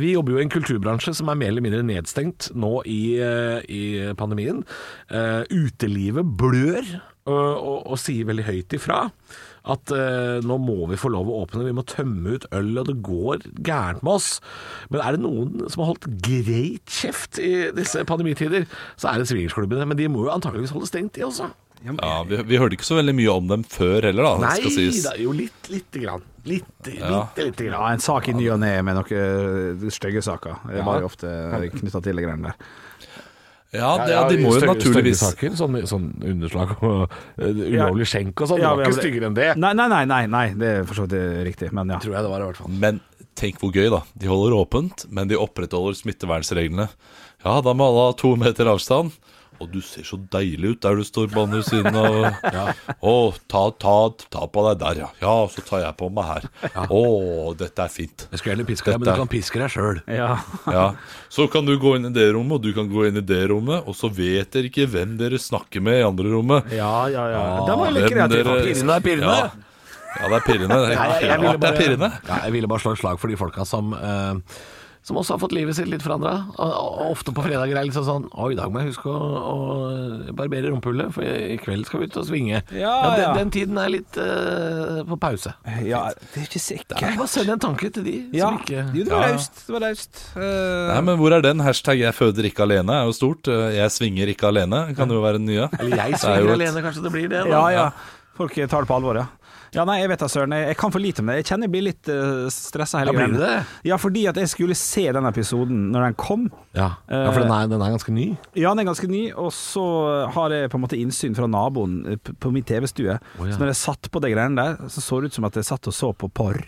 Speaker 3: Vi jobber jo i en kulturbransje som er mer eller mindre nedstengt nå i, eh, i pandemien. Eh, utelivet blør eh, og, og sier veldig høyt ifra at eh, nå må vi få lov å åpne, vi må tømme ut øl, og det går gærent med oss. Men er det noen som har holdt greit kjeft i disse pandemitider, så er det swingersklubbene. Men de må jo antakeligvis holde stengt, de også.
Speaker 6: Ja, vi, vi hørte ikke så veldig mye om dem før heller, da.
Speaker 3: Nei
Speaker 6: det skal sies.
Speaker 3: da, jo litt, lite grann. Litt,
Speaker 6: Ja.
Speaker 3: lite, lite
Speaker 5: Ja,
Speaker 3: grann.
Speaker 5: en sak i ny og ne med noen stygge saker. Det var jo ofte knytta til de greiene der.
Speaker 6: Ja, det, de må jo
Speaker 3: stygge-
Speaker 6: naturligvis
Speaker 3: Stygge saker, sånn, sånn underslag og eh, ulovlig skjenk og sånn. det
Speaker 5: Ja,
Speaker 3: var
Speaker 5: men-
Speaker 3: ikke styggere enn det,
Speaker 5: Nei, nei, nei, nei, nei. det er for så vidt eh, riktig, men ja.
Speaker 3: tror jeg det var i hvert fall.
Speaker 6: Men Tenk hvor gøy, da. De holder åpent, men de opprettholder smittevernreglene. Ja, da må alle ha to meter avstand. Og du ser så deilig ut der du står på andre siden av
Speaker 3: *laughs*
Speaker 6: Å, ta, ta, ta på deg der, ja. Ja, så tar jeg på meg her. Å, dette er fint.
Speaker 3: Jeg skulle heller piske deg, men
Speaker 6: Dette-
Speaker 3: du kan piske deg sjøl.
Speaker 5: Ja.
Speaker 6: Ja. Så kan du gå inn i det rommet, og du kan gå inn i det rommet, og så vet dere ikke hvem dere snakker med i andre rommet.
Speaker 5: ja, ja, ja.
Speaker 6: Ah,
Speaker 5: Den var jo litt
Speaker 6: Hvem
Speaker 5: kreativ.
Speaker 6: dere-
Speaker 5: faktisk.
Speaker 3: Pirrende er pirrende.
Speaker 6: Ja. ja, det er pirrende. Det er,
Speaker 3: jeg ville
Speaker 6: pirrende. det er
Speaker 3: bare-
Speaker 6: pirrende.
Speaker 3: Ja, jeg ville bare slå et slag for de folka som eh, som også har fått livet sitt litt forandra. Ofte på fredager er det litt sånn Å, i dag må jeg huske å, å barbere rumpehullet, for i kveld skal vi ut og svinge.
Speaker 5: Ja,
Speaker 3: den,
Speaker 5: ja.
Speaker 3: den tiden er litt eh, på pause.
Speaker 5: Ja, det er ikke sikkert.
Speaker 3: Bare send en tanke til de
Speaker 5: Ja.
Speaker 3: som ikke
Speaker 5: Jo, det var
Speaker 6: Ja.
Speaker 5: raust. Det var raust. Eh,
Speaker 6: Nei, men hvor er den? Hashtag 'jeg føder ikke alene' er jo stort. Eh, 'Jeg svinger ikke alene' kan jo være den nye.
Speaker 3: Eller jeg
Speaker 6: Det er jo
Speaker 3: svinger
Speaker 6: et-
Speaker 3: alene, kanskje det blir det. Da.
Speaker 5: ja, ja. Folk tar det på alvor, ja. Ja, nei, jeg vet da, søren. Jeg, jeg kan for lite om det. Jeg kjenner jeg blir litt uh, stressa hele
Speaker 3: Ja, blir du
Speaker 5: greia.
Speaker 3: det?
Speaker 5: Ja, fordi at jeg skulle se den episoden når den kom.
Speaker 3: Ja. ja, for den er, den er ganske ny.
Speaker 5: Ja, den er ganske ny, og så har jeg på en måte innsyn fra naboen eh, p- på min
Speaker 3: ja.
Speaker 5: TV-stue. Så når jeg satt på de greiene der, så så det ut som at jeg satt og så på porr.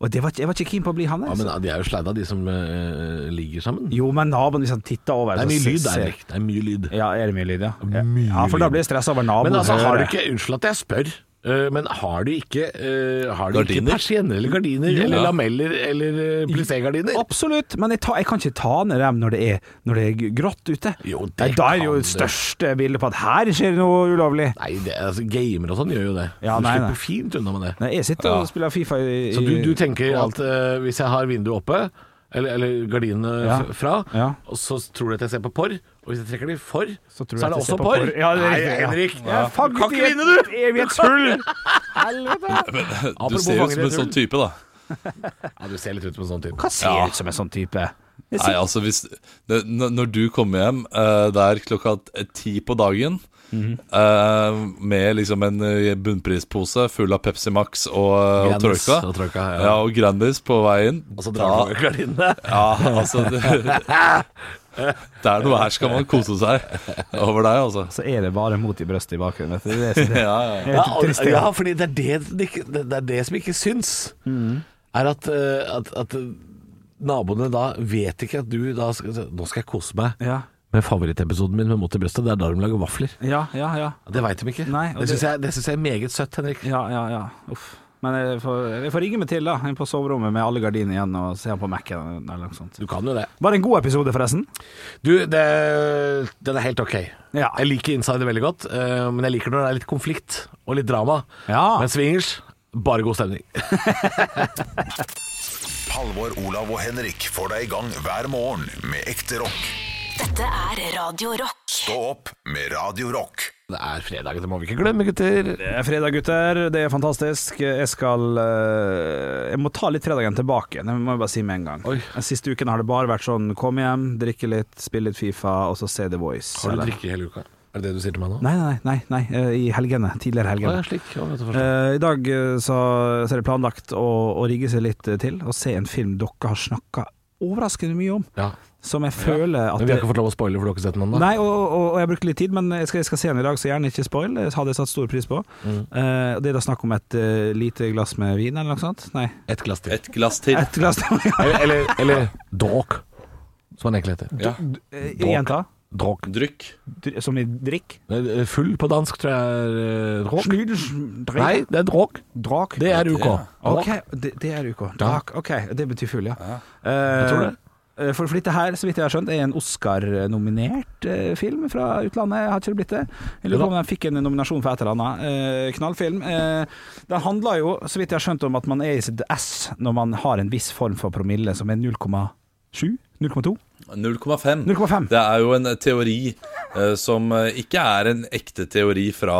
Speaker 5: Og det var, ikke- jeg var ikke keen på å bli han der.
Speaker 3: Ja, men
Speaker 5: altså.
Speaker 3: De er jo sleida, de som eh, ligger sammen.
Speaker 5: Jo, men naboen, hvis han titta over
Speaker 3: Det er
Speaker 5: så
Speaker 3: mye lyd
Speaker 5: ser-
Speaker 3: der. Erik. Det er mye lyd.
Speaker 5: Ja, er det mye lyd, ja?
Speaker 3: Mye
Speaker 5: ja, for da blir jeg stressa over naboen.
Speaker 3: Men altså,
Speaker 5: hører
Speaker 3: har du
Speaker 5: jeg.
Speaker 3: ikke Unnskyld at jeg spør. øh, Men har du ikke, øh, har du ikke
Speaker 6: Gardiner?
Speaker 3: persienner eller gardiner eller
Speaker 6: Ja.
Speaker 3: lameller eller øh, plissé-gardiner?
Speaker 5: Absolutt, men jeg, ta, jeg kan ikke ta ned dem når det er, når det er g- grått ute.
Speaker 3: Jo, det
Speaker 5: Nei, da er det jo
Speaker 3: kan
Speaker 5: det
Speaker 3: du.
Speaker 5: største bildet på at her skjer det noe ulovlig.
Speaker 3: Nei, det, altså, gamer og sånn gjør jo det.
Speaker 5: Ja,
Speaker 3: du
Speaker 5: nei, nei.
Speaker 3: slipper fint unna med det.
Speaker 5: Nei, jeg sitter og spiller Fifa i, i
Speaker 3: Så du, du tenker at øh, hvis jeg har vinduet oppe, eller, eller gardinene
Speaker 5: Ja.
Speaker 3: f- fra,
Speaker 5: Ja.
Speaker 3: og så tror du at jeg ser på porr, og hvis jeg trekker de for, så,
Speaker 5: tror
Speaker 3: er
Speaker 5: du at
Speaker 3: det
Speaker 5: jeg ser
Speaker 3: også
Speaker 5: på
Speaker 3: porr.
Speaker 5: porr. Ja, det er
Speaker 3: nei,
Speaker 5: riktig, ja.
Speaker 3: Henrik,
Speaker 5: Ja,
Speaker 3: du kan ikke vinne, du!
Speaker 5: Evighetshull!
Speaker 3: *laughs*
Speaker 5: Helvete!
Speaker 6: eh, Du
Speaker 3: Apropos
Speaker 6: ser jo ut som en
Speaker 3: fangeretur.
Speaker 6: sånn type, da.
Speaker 3: Ja, du ser litt ut som en sånn type.
Speaker 5: Hva ser ut som en sånn type? Jeg
Speaker 6: Nei,
Speaker 5: sitter-
Speaker 6: altså hvis n- n- Når du kommer hjem eh, Det er klokka t- ti på dagen
Speaker 3: Mhm.
Speaker 6: eh, Med liksom en eh, bunnprispose Full av Pepsi Max og, eh, og
Speaker 3: Grandis
Speaker 6: Troika
Speaker 3: og Troika, ja.
Speaker 6: ja, og Grandis på veien
Speaker 3: Og så drar du over gardinene.
Speaker 6: *laughs* ja, altså
Speaker 3: *laughs*
Speaker 6: det, det er noe her skal man kose seg Over deg, altså
Speaker 3: *laughs*
Speaker 5: Så er det bare mot i brøstet i bakgrunnen. vet du. Det er det som er-
Speaker 6: ja, ja.
Speaker 5: Det er
Speaker 3: Ja,
Speaker 5: litt
Speaker 3: og,
Speaker 5: trist, det.
Speaker 3: ja fordi det er det, det, ikke- det, det er det som ikke syns.
Speaker 5: Mm.
Speaker 3: Er at, eh, at, at eh, naboene da vet ikke at du da skal, altså, Nå skal jeg kose meg
Speaker 5: Ja.
Speaker 3: med favorittepisoden min med Mot i brøstet. Det er da de lager vafler.
Speaker 5: Ja, ja, ja.
Speaker 3: Det veit de ikke.
Speaker 5: Nei,
Speaker 3: det
Speaker 5: og det-
Speaker 3: syns jeg, det synes jeg er meget søtt, Henrik.
Speaker 5: Ja, ja, ja. Uff. Men jeg får, jeg får ringe meg til da, inn på soverommet med alle gardiner igjen og se på Mac-en eller noe sånt.
Speaker 3: Du kan jo det.
Speaker 5: Var det en god episode, forresten?
Speaker 3: Du, det, den er helt ok.
Speaker 5: Ja.
Speaker 3: Jeg liker Insider veldig godt, eh, men jeg liker når det er litt konflikt og litt drama.
Speaker 5: Ja.
Speaker 3: Men swingers bare god stemning.
Speaker 1: Halvor, Olav og Henrik får deg i gang hver morgen med ekte rock.
Speaker 2: Dette er Radio Rock.
Speaker 1: Stå opp med Radio Rock.
Speaker 3: Det er fredag, det må vi ikke glemme, gutter.
Speaker 5: Det er fredag, gutter. Det er fantastisk. Jeg skal eh, Jeg må ta litt fredagen tilbake. Det må jeg bare si med en gang.
Speaker 3: Oi.
Speaker 5: Den siste uken har det bare vært sånn kom hjem, drikke litt, spille litt Fifa, og så se The Voice.
Speaker 3: Har du
Speaker 5: eller-
Speaker 3: drikke hele uka? Er det det du sier til meg nå?
Speaker 5: Nei, nei, nei. nei, nei, eh, I helgene. Tidligere helgene.
Speaker 3: ja, slik. Ja, vet du, forstår.
Speaker 5: Eh, I dag eh, så, så er det planlagt å, å rigge seg litt eh, til og se en film dere har snakka overraskende mye om,
Speaker 3: ja.
Speaker 5: som jeg føler at
Speaker 3: Men vi har ikke fått lov å spoile, for du har ikke sett den ennå.
Speaker 5: Nei, og, og, og jeg har brukt litt tid, men jeg skal, jeg skal se den i dag, så gjerne ikke spoil. Det hadde jeg satt stor pris på.
Speaker 3: Mm.
Speaker 5: Eh, og det er da snakk om et eh, lite glass med vin, eller noe sånt? Nei.
Speaker 3: Ett glass til.
Speaker 6: Et glass til
Speaker 5: Et glass *laughs*
Speaker 3: Eller, eller, eller dåk, som den Sånn egentlig heter.
Speaker 6: ja.
Speaker 5: Eh, Jenta.
Speaker 3: Dråk.
Speaker 6: Drykk
Speaker 5: Dr- Som i drikk?
Speaker 3: Eh, Full på dansk, tror jeg er eh, dråk.
Speaker 5: Sludge- drik-
Speaker 3: Nei, det er dråk.
Speaker 5: Drak.
Speaker 3: Det er UK.
Speaker 6: Ja.
Speaker 5: Ok,
Speaker 3: Dråk.
Speaker 5: det, det er UK. Drak. Ok, det betyr fugl, ja. Eh,
Speaker 3: tror det.
Speaker 5: eh, For, for dette her, så vidt jeg har skjønt, er en Oscar-nominert eh, film fra utlandet. Har ikke det blitt det? Jeg lurer på om den fikk en nominasjon for et eller annet. Eh, knallfilm. Eh, den handler jo, så vidt jeg har skjønt, om at man er i sitt ess når man har en viss form for promille, som er 0,7? 0,2?
Speaker 6: 0,5
Speaker 5: 0,5.
Speaker 6: Det er jo en teori eh, som eh, ikke er en ekte teori fra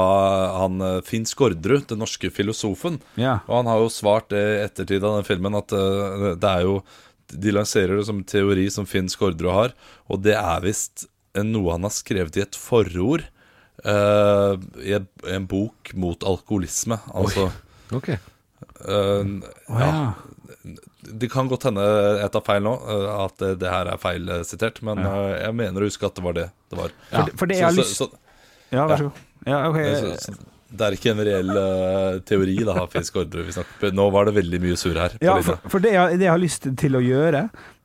Speaker 6: han eh, Finn Skårderud, den norske filosofen.
Speaker 5: Ja.
Speaker 6: Og han har jo svart det i ettertid av den filmen at eh, det er jo De lanserer det som en teori som Finn Skårderud har, og det er visst eh, noe han har skrevet i et forord eh, i en, en bok mot alkoholisme. Altså
Speaker 3: Ok.
Speaker 6: eh,
Speaker 5: Å,
Speaker 6: ja. Det kan godt hende jeg tar feil nå, eh, at det- det her er feil eh, sitert, men eh, jeg mener å huske at det var det det var.
Speaker 5: For, for det jeg
Speaker 6: Så,
Speaker 5: har
Speaker 6: så,
Speaker 5: lyst
Speaker 6: så,
Speaker 5: Ja, vær så god. Ja, ok.
Speaker 6: så, så, Det er ikke en reell eh, teori, da, finsk ordre. Vi snakker. Nå var det veldig mye surr her. på
Speaker 5: Ja,
Speaker 6: linja.
Speaker 5: for, for det, jeg, det jeg har lyst til å gjøre,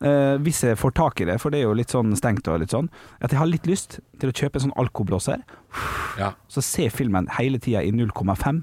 Speaker 5: eh, hvis jeg får tak i det, for det er jo litt sånn stengt og litt sånn, at jeg har litt lyst til å kjøpe en sånn alkoblåser,
Speaker 3: Ja.
Speaker 5: så se filmen hele tida i 0,5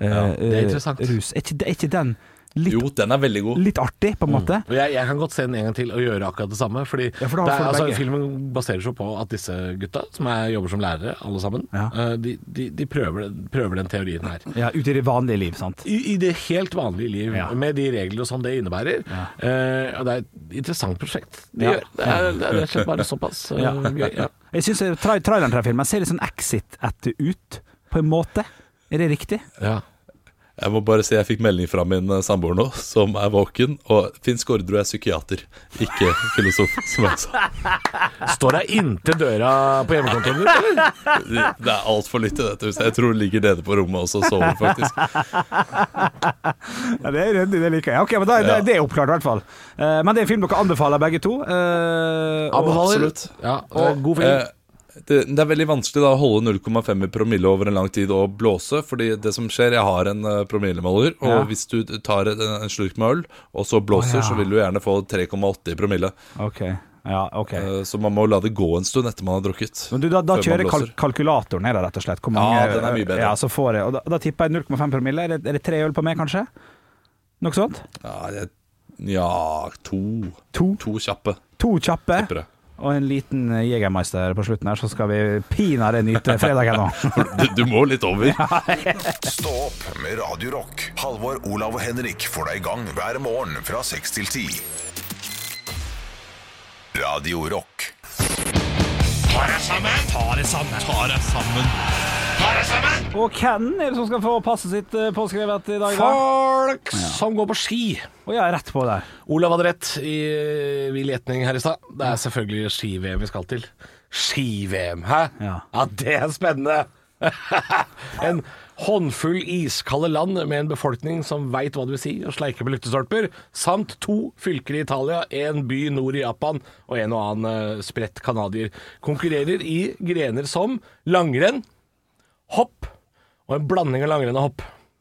Speaker 5: eh,
Speaker 3: det er interessant.
Speaker 5: eh, rus. Er ikke, det- er ikke den litt,
Speaker 6: Jo, den er veldig god.
Speaker 5: litt artig, på en måte?
Speaker 3: Og jeg, jeg kan godt se den en gang til og gjøre akkurat det samme. Fordi
Speaker 5: Ja, for da
Speaker 3: det er,
Speaker 5: får du
Speaker 3: altså,
Speaker 5: begge.
Speaker 3: filmen baserer seg på at disse gutta, som er, jobber som lærere alle sammen,
Speaker 5: Ja.
Speaker 3: eh, de, de, de prøver, prøver den teorien her.
Speaker 5: Ja, Ute i det vanlige liv, sant?
Speaker 3: I, I det helt vanlige liv,
Speaker 5: Ja.
Speaker 3: med de regler og sånn det innebærer. Eh, og det er et interessant prosjekt de
Speaker 5: Ja.
Speaker 3: gjør. Det er, det er rett og slett bare såpass eh,
Speaker 5: Ja.
Speaker 3: gøy. Ja.
Speaker 5: Jeg syns tra traileren til den filmen ser litt sånn Exit etter ut, på en måte. Er det riktig?
Speaker 3: Ja.
Speaker 6: Jeg må bare si jeg fikk melding fra min eh, samboer nå, som er våken. Og Finsk Ordre er psykiater, ikke filosof, som jeg sa.
Speaker 3: Står deg inntil døra på hjemmekontoret ditt, eller?
Speaker 6: Det det er altfor lytt i dette huset. Jeg tror hun ligger nede på rommet også og sover, faktisk.
Speaker 5: Ja, det er ryddig, det liker jeg. Ok, men da,
Speaker 6: Ja.
Speaker 5: det, det er oppklart, i hvert fall. Eh, men det er en film dere anbefaler, begge to. Eh, og-
Speaker 3: Anbefaler.
Speaker 6: absolutt.
Speaker 3: Ja, og, god film.
Speaker 6: Eh, det, det er veldig vanskelig da å holde 0,5 i promille over en lang tid og blåse. fordi det som skjer, jeg har en eh, promillemåler, og
Speaker 5: Ja.
Speaker 6: hvis du tar en, en slurk med øl, og så blåser,
Speaker 5: Å, ja.
Speaker 6: så vil du gjerne få 3,8 i promille.
Speaker 5: Ok, ja, ok.
Speaker 6: Eh, så man må la det gå en stund etter man har drukket.
Speaker 5: Men du, da, da
Speaker 6: før man
Speaker 5: kjører
Speaker 6: blåser.
Speaker 5: kalk kalkulatoren ned, da, rett og slett. Hvor
Speaker 6: Ja,
Speaker 5: mange,
Speaker 6: den er mye bedre.
Speaker 5: Ja, så får jeg, og da, da tipper jeg 0,5 promille. Er det, er det tre øl på meg, kanskje? Noe sånt?
Speaker 6: Ja, jeg, ja to.
Speaker 5: To,
Speaker 6: To kjappe.
Speaker 5: to kjappe
Speaker 6: tipper jeg.
Speaker 5: og en liten eh, Jegermeister på slutten her, så skal vi pinadø nyte fredagen
Speaker 6: *laughs*
Speaker 5: nå.
Speaker 6: Du, du må litt over.
Speaker 1: Stå opp med Radio Rock. Halvor, Olav og Henrik får deg i gang hver morgen fra 6 til 10. Radio Rock.
Speaker 5: Og hvem er det som skal få passet sitt eh, påskrevet i dag, da?
Speaker 3: Folk som går på ski.
Speaker 5: Å, jeg er rett på der.
Speaker 3: Olav hadde rett i eh, vill gjetning her i stad. Det er selvfølgelig ski-VM vi skal til. Ski-VM, hæ?
Speaker 5: Ja.
Speaker 3: det er spennende! *laughs* en håndfull iskalde land med en befolkning som veit hva det vil si å sleike på lyktestolper, samt to fylker i Italia, en by nord i Japan og en og annen eh, spredt canadier, konkurrerer i grener som langrenn, hopp og en blanding av langrenn og hopp.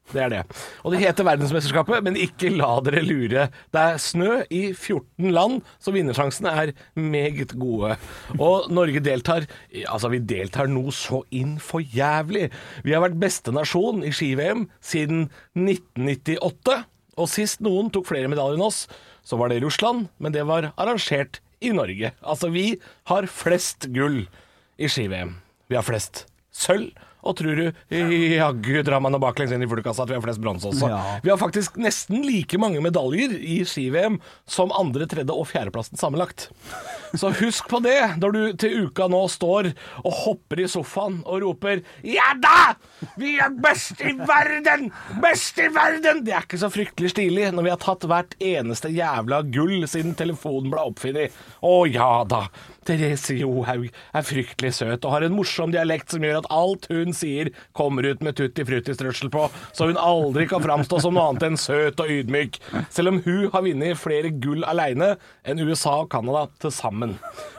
Speaker 3: Det er det. Og det heter verdensmesterskapet, men ikke la dere lure. Det er snø i 14 land, så vinnersjansene er meget gode. Og Norge deltar Altså, vi deltar nå så inn for jævlig. Vi har vært beste nasjon i ski-VM siden 1998. Og sist noen tok flere medaljer enn oss, så var det i Russland, men det var arrangert i Norge. Altså, vi har flest gull i ski-VM. Vi har flest sølv. Og tror du jaggu drar man noe baklengs inn i fuglekassa at vi har flest bronse også.
Speaker 5: Ja.
Speaker 3: Vi har faktisk nesten like mange medaljer i ski-VM som andre-, tredje- og fjerdeplassen sammenlagt. Så husk på det når du til uka nå står og hopper i sofaen og roper Ja da! Vi er best i verden! Best i verden! Det er ikke så fryktelig stilig når vi har tatt hvert eneste jævla gull siden telefonen ble oppfunnet. Å ja da. Therese Johaug er fryktelig søt og har en morsom dialekt som gjør at alt hun sier kommer ut med tutti frutti strøssel på, så hun aldri kan framstå som noe annet enn søt og ydmyk. Selv om hun har vunnet flere gull aleine enn USA og Canada til sammen.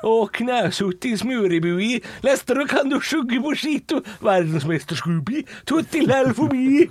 Speaker 3: Å, knæsutti smøribui, lestere kan du sjugge på skit, verdensmesterskupi, tutti lær forbi.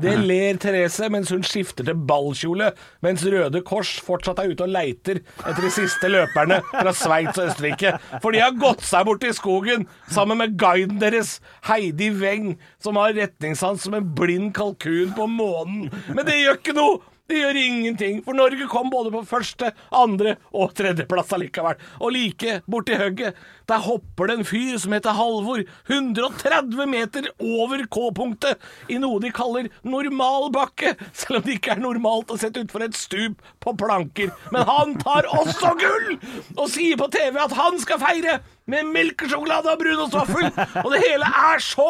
Speaker 3: Det ler Therese mens hun skifter til ballkjole, mens Røde Kors fortsatt er ute og leiter etter de siste løperne fra Sveits og Østerrike. For de har gått seg bort i skogen sammen med guiden deres, Heidi Weng, som har retningssans som en blind kalkun på månen. Men det gjør ikke noe! Det gjør ingenting, for Norge kom både på første, andre og tredjeplass allikevel. Og like borti hugget, der hopper det en fyr som heter Halvor, 130 meter over K-punktet, i noe de kaller normal bakke, selv om det ikke er normalt å sette utfor et stup på planker. Men han tar også gull, og sier på TV at han skal feire med melkesjokolade og brunost vaffel. Og det hele er så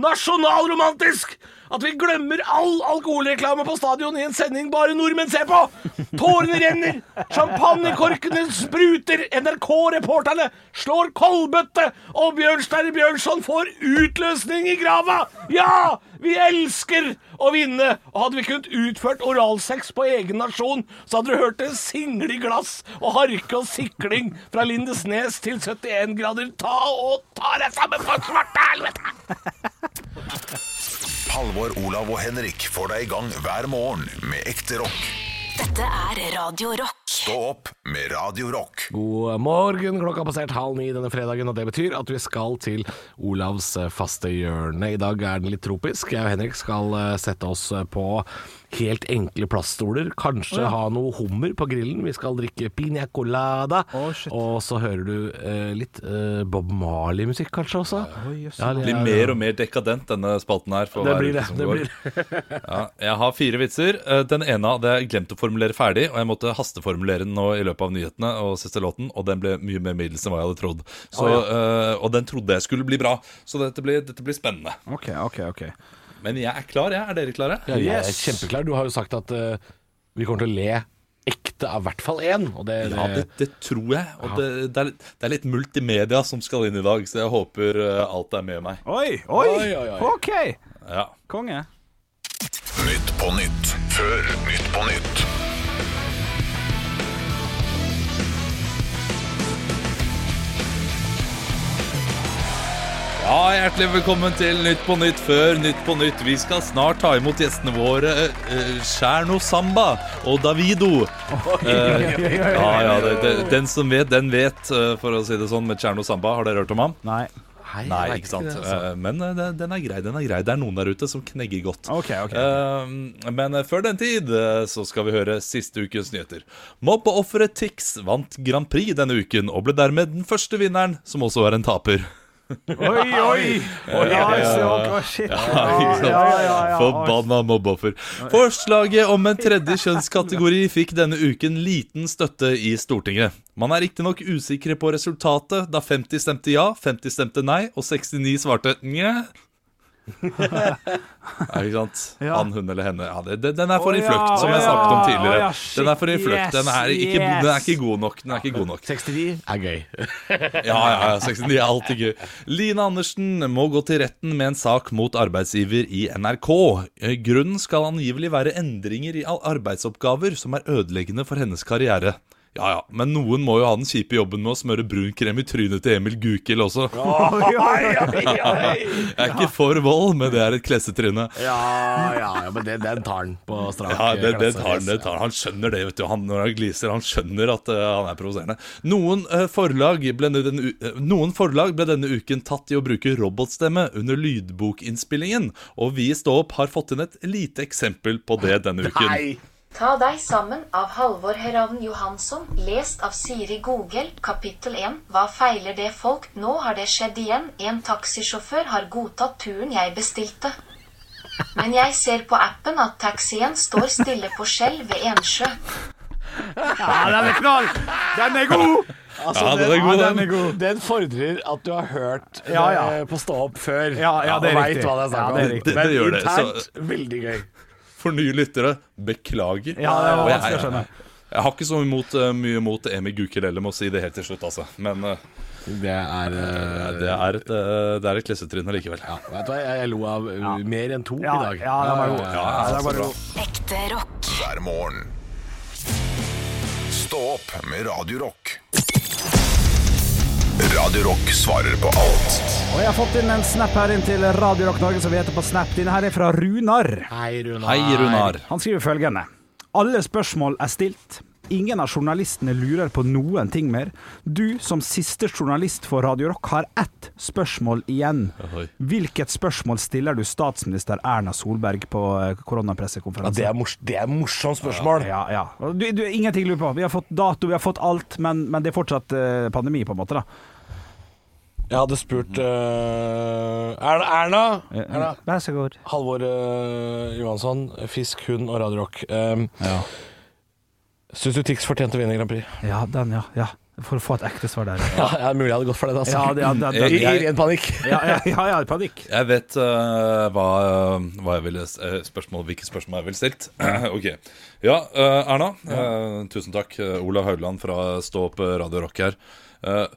Speaker 3: nasjonalromantisk at vi glemmer all alkoholreklame på stadion i en sending bare nordmenn ser på. Tårene renner, champagnekorkene spruter, NRK-reporterne slår kolbøtte, og Bjørnstjerne Bjørnson får utløsning i grava. Ja, vi elsker å vinne! Og hadde vi kunnet utført oralsex på egen nasjon, så hadde du hørt en single i glass og harke og sikling fra Lindesnes til 71 grader. Ta og ta deg sammen for svarte helvete!
Speaker 1: Halvor, Olav og Henrik får deg i gang hver morgen med ekte rock.
Speaker 2: Dette er Radio Rock.
Speaker 1: Stå opp med Radio Rock.
Speaker 3: God morgen, klokka har passert halv ni denne fredagen, og det betyr at vi skal til Olavs eh, faste hjørne. I dag er den litt tropisk. Jeg og Henrik skal eh, sette oss på helt enkle plaststoler. Kanskje ha noe hummer på grillen. Vi skal drikke piña colada.
Speaker 4: Å, shit.
Speaker 3: og så hører du eh, litt eh, Bob Marley-musikk kanskje også. Ja, det
Speaker 6: Blir
Speaker 3: er-
Speaker 6: mer og mer dekadent, denne spalten her. For
Speaker 3: det
Speaker 6: hver
Speaker 3: blir
Speaker 6: uke
Speaker 3: det.
Speaker 6: som
Speaker 3: det
Speaker 6: går.
Speaker 3: blir. det.
Speaker 6: Ja, jeg har fire vitser. Eh, Den ene hadde jeg glemt å formulere ferdig, og jeg måtte hasteformulere den nå i løpet av nyhetene og siste låten, og den ble mye mer middels enn hva jeg hadde trodd. Så, eh, og den trodde jeg skulle bli bra, så dette blir, dette blir spennende.
Speaker 5: OK, OK. ok
Speaker 6: Men jeg er klar, jeg. Er dere klare?
Speaker 3: Ja, jeg er kjempeklar. Du har jo sagt at eh, vi kommer til å le ekte av hvert fall én. Og det,
Speaker 6: Ja, det, det tror jeg. Og det, det, er, litt- det er litt multimedia som skal inn i dag, så jeg håper eh, alt er med meg.
Speaker 5: Oi, oi,
Speaker 3: Oi, oi, oi.
Speaker 5: OK!
Speaker 6: Ja.
Speaker 5: Konge.
Speaker 1: Nytt på nytt før Nytt på nytt.
Speaker 6: ja, hjertelig velkommen til Nytt på Nytt før Nytt på Nytt. Vi skal snart ta imot gjestene våre eh, Cherno Samba og Davido. Eh, Ja, ja, det, det, den som vet, den vet, eh, for å si det sånn, med Cherno Samba. Har dere hørt om ham?
Speaker 5: Nei.
Speaker 3: Hei, jeg
Speaker 6: Nei,
Speaker 3: vet
Speaker 6: ikke sant.
Speaker 3: det, altså.
Speaker 6: Eh, Men eh, den- den er grei, den er grei. Det er noen der ute som knegger godt.
Speaker 5: Ok, ok.
Speaker 6: Eh, Men eh, før den tid eh, så skal vi høre siste ukens nyheter. Mobbeofferet Tix vant Grand Prix denne uken, og ble dermed den første vinneren, som også er en taper.
Speaker 5: Oi, oi! oi ja, så- å, shit.
Speaker 6: Ikke sant? Forbanna mobbeoffer. Forslaget om en tredje kjønnskategori fikk denne uken liten støtte i Stortinget. Man er riktignok usikre på resultatet, da 50 stemte ja, 50 stemte nei, og 69 svarte nje. Ja, ikke sant?
Speaker 5: Ja.
Speaker 6: Han, hun eller henne. Ja, det, det, den er for
Speaker 5: Å,
Speaker 6: innfløkt,
Speaker 5: ja,
Speaker 6: som
Speaker 5: å,
Speaker 6: jeg
Speaker 5: ja,
Speaker 6: snakket om
Speaker 5: å,
Speaker 6: tidligere.
Speaker 5: ja, shit,
Speaker 6: Den er for innfløkt. Den er
Speaker 5: yes,
Speaker 6: ikke, den er
Speaker 5: yes.
Speaker 6: ikke god nok. Den er ikke god nok.
Speaker 3: 69 er gøy.
Speaker 6: Ja, ja, ja, 69 er alltid gøy. Line Andersen må gå til retten med en sak mot arbeidsgiver i NRK. Eh, Grunnen skal angivelig være endringer i al- arbeidsoppgaver som er ødeleggende for hennes karriere. Ja ja, men noen må jo ha den kjipe jobben med å smøre brun krem i trynet til Emil Gukild også. Jeg er ikke for vold, men det er et klessetryne.
Speaker 3: Ja, ja, ja men det, den tar han på strak altså.
Speaker 6: Ja, det, det
Speaker 3: klasse.
Speaker 6: tar han, det tar han. Han skjønner det, vet du. Han, når han gliser, han skjønner at eh, han er provoserende. Noen, eh, forlag ble nu- den u- eh, noen forlag ble denne uken tatt i å bruke robotstemme under lydbokinnspillingen, og vi i Stå opp har fått inn et lite eksempel på det denne uken.
Speaker 3: Nei!
Speaker 8: Ta deg sammen av Halvor Heran Johansson, lest av Siri Gogel, kapittel 1. Hva feiler det folk? Nå har det skjedd igjen. En taxisjåfør har godtatt turen jeg bestilte. Men jeg ser på appen at taxien står stille på skjell ved Ensjø.
Speaker 5: Ja, den er knall! Den er god!
Speaker 3: Altså,
Speaker 6: Ja, den er god, den.
Speaker 3: den fordrer at du har hørt eh,
Speaker 5: Ja, ja.
Speaker 3: det på Stå opp før.
Speaker 5: Ja, ja, det er
Speaker 3: og
Speaker 5: riktig.
Speaker 3: vet hva det er snakk
Speaker 5: Ja, det
Speaker 3: om.
Speaker 5: er
Speaker 6: riktig. Det gjør det,
Speaker 3: internt veldig gøy.
Speaker 6: For nye lyttere, beklager.
Speaker 5: Ja, det var
Speaker 6: Og jeg-
Speaker 5: vanskelig å skjønne.
Speaker 6: Jeg har ikke så imot, eh, mye imot Emil Gukild heller, må si det helt til slutt, altså. Men eh,
Speaker 3: Det er
Speaker 6: det er et, eh, det er et klessetrinn allikevel.
Speaker 3: ja, Vet du hva, jeg, jeg lo av uh, mer enn to
Speaker 5: Ja,
Speaker 3: i dag.
Speaker 5: ja, den var god.
Speaker 6: Ja, altså.
Speaker 5: Ja,
Speaker 6: så
Speaker 5: den var
Speaker 6: bra.
Speaker 5: god.
Speaker 2: Ekte rock.
Speaker 1: Hver morgen. Stå opp med Radio Rock. Radio Rock svarer på alt.
Speaker 5: Og jeg har fått inn en snap her inn til Radio Rock Norge, som vi heter på Snap. Denne her er fra Runar.
Speaker 3: Hei, Runar.
Speaker 6: Hei, Runar.
Speaker 5: Han skriver følgende. Alle spørsmål er stilt. Ingen av journalistene lurer på noen ting mer. Du som siste journalist for Radio Rock har ett spørsmål igjen.
Speaker 6: Oi.
Speaker 5: Hvilket spørsmål stiller du statsminister Erna Solberg på eh,
Speaker 3: Ja, det
Speaker 5: koronapressekonferansen?
Speaker 3: er mors- det er morsomt spørsmål.
Speaker 5: Ja, ja. Og Du, du, ingenting lurer på. Vi har fått dato, vi har fått alt, men, men det er fortsatt eh, pandemi, på en måte. da.
Speaker 3: Jeg hadde spurt uh, Erna, Erna, Erna.
Speaker 5: Vær så god.
Speaker 3: Halvor eh, Johansson, Fisk, Hund og Radio Rock. Um,
Speaker 5: Ja.
Speaker 3: Syns du Tix fortjente å vinne Grand Prix?
Speaker 5: Ja, den, ja. ja. For å få et ekte svar der.
Speaker 3: Ja, ja mulig jeg hadde gått for den, altså.
Speaker 5: Ja, det, ja, det,
Speaker 3: I,
Speaker 5: det,
Speaker 3: I
Speaker 6: Jeg-
Speaker 3: ren panikk.
Speaker 5: ja, ja, ja, ja, panikk.
Speaker 6: Jeg vet eh, hva, eh, hva jeg ville, eh, spørsmål, hvilke spørsmål jeg ville stilt. *clears throat* ok. Ja, eh, Erna. eh, tusen takk. Eh, Olav Haugland fra Stå opp eh, Radio Rock her. Eh,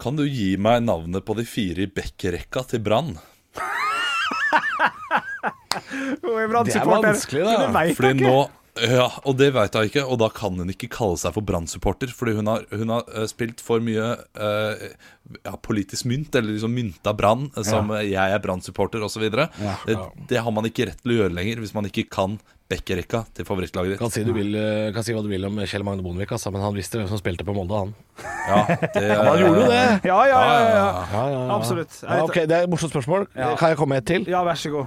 Speaker 6: kan du gi meg navnet på de fire i bekkerekka til Brann?
Speaker 5: Det
Speaker 3: Det er vanskelig, da.
Speaker 5: Det vet jeg
Speaker 6: Fordi
Speaker 5: ikke.
Speaker 6: nå Ja, og det veit hun ikke, og da kan hun ikke kalle seg for Brann-supporter. Fordi hun har, hun har eh, spilt for mye eh, ja, politisk mynt, eller liksom mynta Brann, eh, som eh, 'jeg er Brann-supporter' osv. Det, det har man ikke rett til å gjøre lenger, hvis man ikke kan bekkerekka til favorittlaget ditt.
Speaker 3: Kan si, du vil, eh, kan si hva du vil om Kjell Magne Bondevik, altså, men han visste hvem som spilte på Molde, han.
Speaker 6: Ja, det,
Speaker 5: Ja, ja, ja. ja, ja. Absolutt. Jeg
Speaker 3: Ja,
Speaker 5: vet-
Speaker 3: ok, Det er et morsomt spørsmål. Kan jeg komme med et til?
Speaker 5: Ja, vær så god.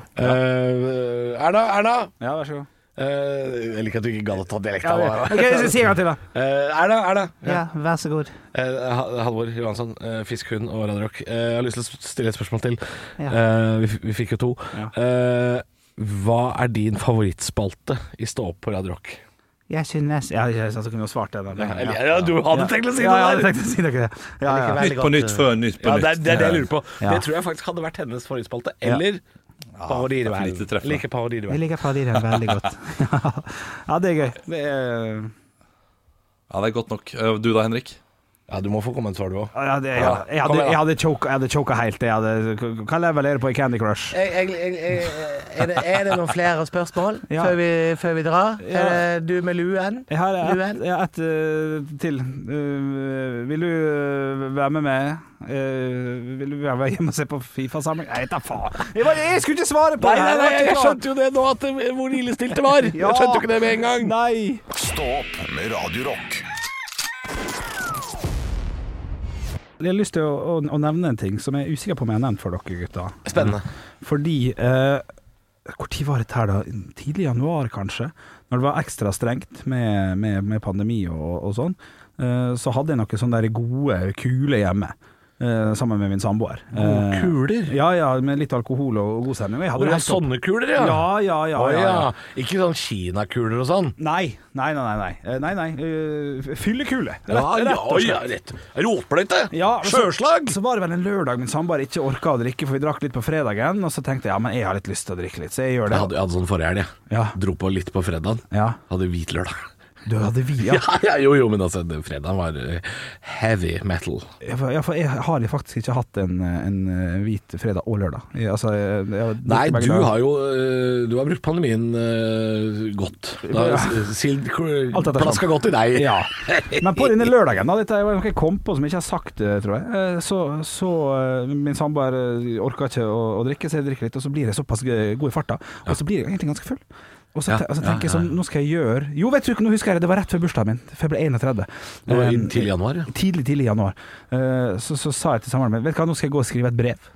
Speaker 3: Eh, Erna! Erna!
Speaker 5: Ja, vær så god.
Speaker 3: Eh, jeg liker at du ikke gadd å ta dialekta.
Speaker 5: Ja,
Speaker 3: Ja,
Speaker 5: det- ok, jeg skal si en gang til, da.
Speaker 3: Erna! Erna!
Speaker 9: Ja, vær så god.
Speaker 3: Eh, Ha- Halvor Johansson, eh, Fisk, hund og Radio Rock. Eh, jeg har lyst til å stille et spørsmål til. Eh, vi, f- vi fikk jo to. Eh, hva er din favorittspalte i Stå opp på Radio Rock?
Speaker 9: Jeg synes
Speaker 5: Ja, jeg så kunne jo svart det. Da. Ja.
Speaker 3: Eller, ja, du hadde tenkt å si
Speaker 5: Ja, jeg
Speaker 3: det
Speaker 5: hadde
Speaker 3: der!
Speaker 5: tenkt å si dere det. Ja, ja.
Speaker 6: Nytt på nytt før Nytt på
Speaker 3: Ja,
Speaker 6: nytt.
Speaker 3: det, er, det er det jeg lurer på.
Speaker 5: Ja.
Speaker 3: Det tror jeg faktisk hadde vært hennes favorittspalte. Eller
Speaker 6: det er for lite
Speaker 3: Parodierevern.
Speaker 6: treffende.
Speaker 3: Like
Speaker 9: Jeg
Speaker 3: Parodierevern.
Speaker 9: liker parodien veldig godt.
Speaker 5: ja, det er gøy. Det er,
Speaker 6: Ja, det er godt nok. Eh, Du
Speaker 3: *laughs*
Speaker 6: da, Henrik?
Speaker 3: Ja, du må få komme et svar, du òg.
Speaker 5: ja, det er, ja. Jeg hadde, jeg hadde choka- jeg hadde choka helt. Jeg hadde, hva leverer på i Candy Crush?
Speaker 9: er, det, noen flere spørsmål
Speaker 5: Ja.
Speaker 9: før, vi, før vi drar?
Speaker 5: Ja.
Speaker 9: Er det du med luen?
Speaker 5: Jeg har ett
Speaker 9: Luen?
Speaker 5: ja, et, eh, til. Eh, vil du eh, være med meg? Eh, vil du være med hjemme og se på Fifa-samling? Nei, ta faen! Jeg, bare- jeg skulle ikke svare på det! her, det var ikke klart.
Speaker 3: jo det nå, at, hvor illestilt det
Speaker 5: *laughs*
Speaker 3: var.
Speaker 5: Jeg skjønte jo ikke
Speaker 3: det med en gang.
Speaker 5: Nei!
Speaker 1: Stå opp med Radio Rock.
Speaker 5: Jeg har lyst til å, å, å nevne en ting som jeg er usikker på om jeg har nevnt for dere, gutter.
Speaker 3: Spennende.
Speaker 5: Fordi eh, Hvor tid var dette her, da? Tidlig i januar, kanskje? Når det var ekstra strengt med, med, med pandemi og, og sånn, eh, så hadde jeg noen sånne der gode kuler hjemme. eh, sammen med min samboer. Eh,
Speaker 3: kuler?
Speaker 5: Ja, ja, med litt alkohol og god stemning. Og jeg hadde
Speaker 3: Hvor
Speaker 5: det
Speaker 3: er
Speaker 5: helt topp.
Speaker 3: sånne kuler, ja?
Speaker 5: Ja, ja, ja.
Speaker 3: Å
Speaker 5: ja, ja.
Speaker 3: ja. Ikke sånn kinakuler og sånn?
Speaker 5: Nei, nei, nei. nei, nei. Eh, nei, nei. eh, fyllekule. Rett,
Speaker 3: Ja, ja,
Speaker 5: rett og slett.
Speaker 3: ja, rett. Rotbløyte!
Speaker 5: Ja, men så-
Speaker 3: Sjøslag!
Speaker 5: Så var det vel en lørdag min samboer ikke orka å drikke, for vi drakk litt på fredagen. Og så tenkte jeg ja, men jeg har litt lyst til å drikke litt, så jeg gjør
Speaker 3: Jeg
Speaker 5: det.
Speaker 3: hadde, jeg hadde sånn forrige helg. jeg.
Speaker 5: Ja.
Speaker 3: Dro på litt på fredagen.
Speaker 5: Ja.
Speaker 3: Hadde hvit *laughs* lørdag.
Speaker 5: Du hadde vi,
Speaker 3: Ja.
Speaker 5: ja.
Speaker 3: ja, jo, jo, men altså, det- fredagen var eh, heavy metal.
Speaker 5: Ja, for- Ja, for jeg har faktisk ikke hatt en, en eh, hvit fredag og lørdag. Jeg, altså, jeg, jeg,
Speaker 3: Nei, du har jo eh, Du har brukt pandemien eh, godt. Da, sild
Speaker 5: *laughs* Alt dette er
Speaker 3: plaska godt i deg.
Speaker 5: Ja. Men på denne lørdagen, da, dette var noe jeg kom på som jeg ikke har sagt, eh, tror jeg, eh, så, så eh, min samboer eh, orka ikke å, å drikke, så jeg drikker litt, og så blir jeg såpass g- god i farta, og så blir jeg egentlig ganske full. Og så,
Speaker 3: Ja,
Speaker 5: te og så
Speaker 3: ja,
Speaker 5: tenker jeg
Speaker 3: ja,
Speaker 5: sånn, nå skal jeg gjøre Jo, vet du ikke, nå husker jeg det, det var rett før bursdagen min, for jeg ble 31.
Speaker 3: Det var i
Speaker 5: Eh,
Speaker 3: tidlig januar, ja.
Speaker 5: Tidlig, tidlig i januar. Eh, så, så sa jeg til samboeren min, vet du hva, nå skal jeg gå og skrive et brev.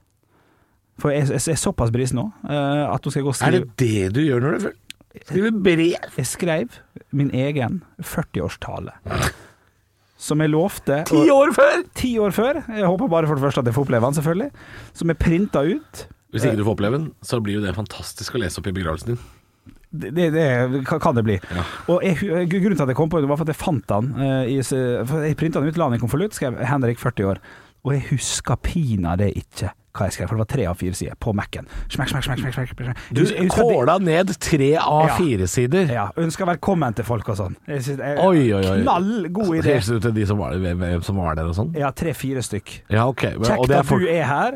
Speaker 5: For jeg, jeg, jeg er såpass brisen nå, eh, at nå skal jeg gå og
Speaker 3: Er
Speaker 5: skrive
Speaker 3: det det du gjør når du er full? Skriver brev?
Speaker 5: jeg skrev min egen 40-årstale. Som jeg lovte
Speaker 3: Ti år før!
Speaker 5: Ti år før. Jeg håper bare for det første at jeg får oppleve den, selvfølgelig. Som jeg printa ut.
Speaker 3: Hvis ikke du får oppleve den, så blir jo det fantastisk å lese opp i begravelsen din.
Speaker 5: Det, det, det kan- kan det bli. Og jeg, hu- Grunnen til at jeg kom på det, var for at jeg fant den. eh, i, s- for jeg printa den ut, la den i konvolutt, skrev 'Henrik, 40 år'. Og jeg huska pinadø ikke hva jeg skrev, for det var tre av fire sider på Mac-en. Smekk, smekk, smekk, smekk, smekk, smekk.
Speaker 3: Du
Speaker 5: Jeg husker at det-
Speaker 3: kåla ned tre av
Speaker 5: Ja.
Speaker 3: fire sider.
Speaker 5: Ja, Ønska velkommen til folk og sånn. Jeg synes- jeg-
Speaker 3: Oi, oi, Altså, oi.
Speaker 5: Knall god idé.
Speaker 3: Hilser du til de som var, hvem- hvem som var der og sånn?
Speaker 5: Ja, tre-fire stykk.
Speaker 3: Ja, ok. Men, og,
Speaker 5: Kjekt
Speaker 3: det er
Speaker 5: at
Speaker 3: folk,
Speaker 5: du er her.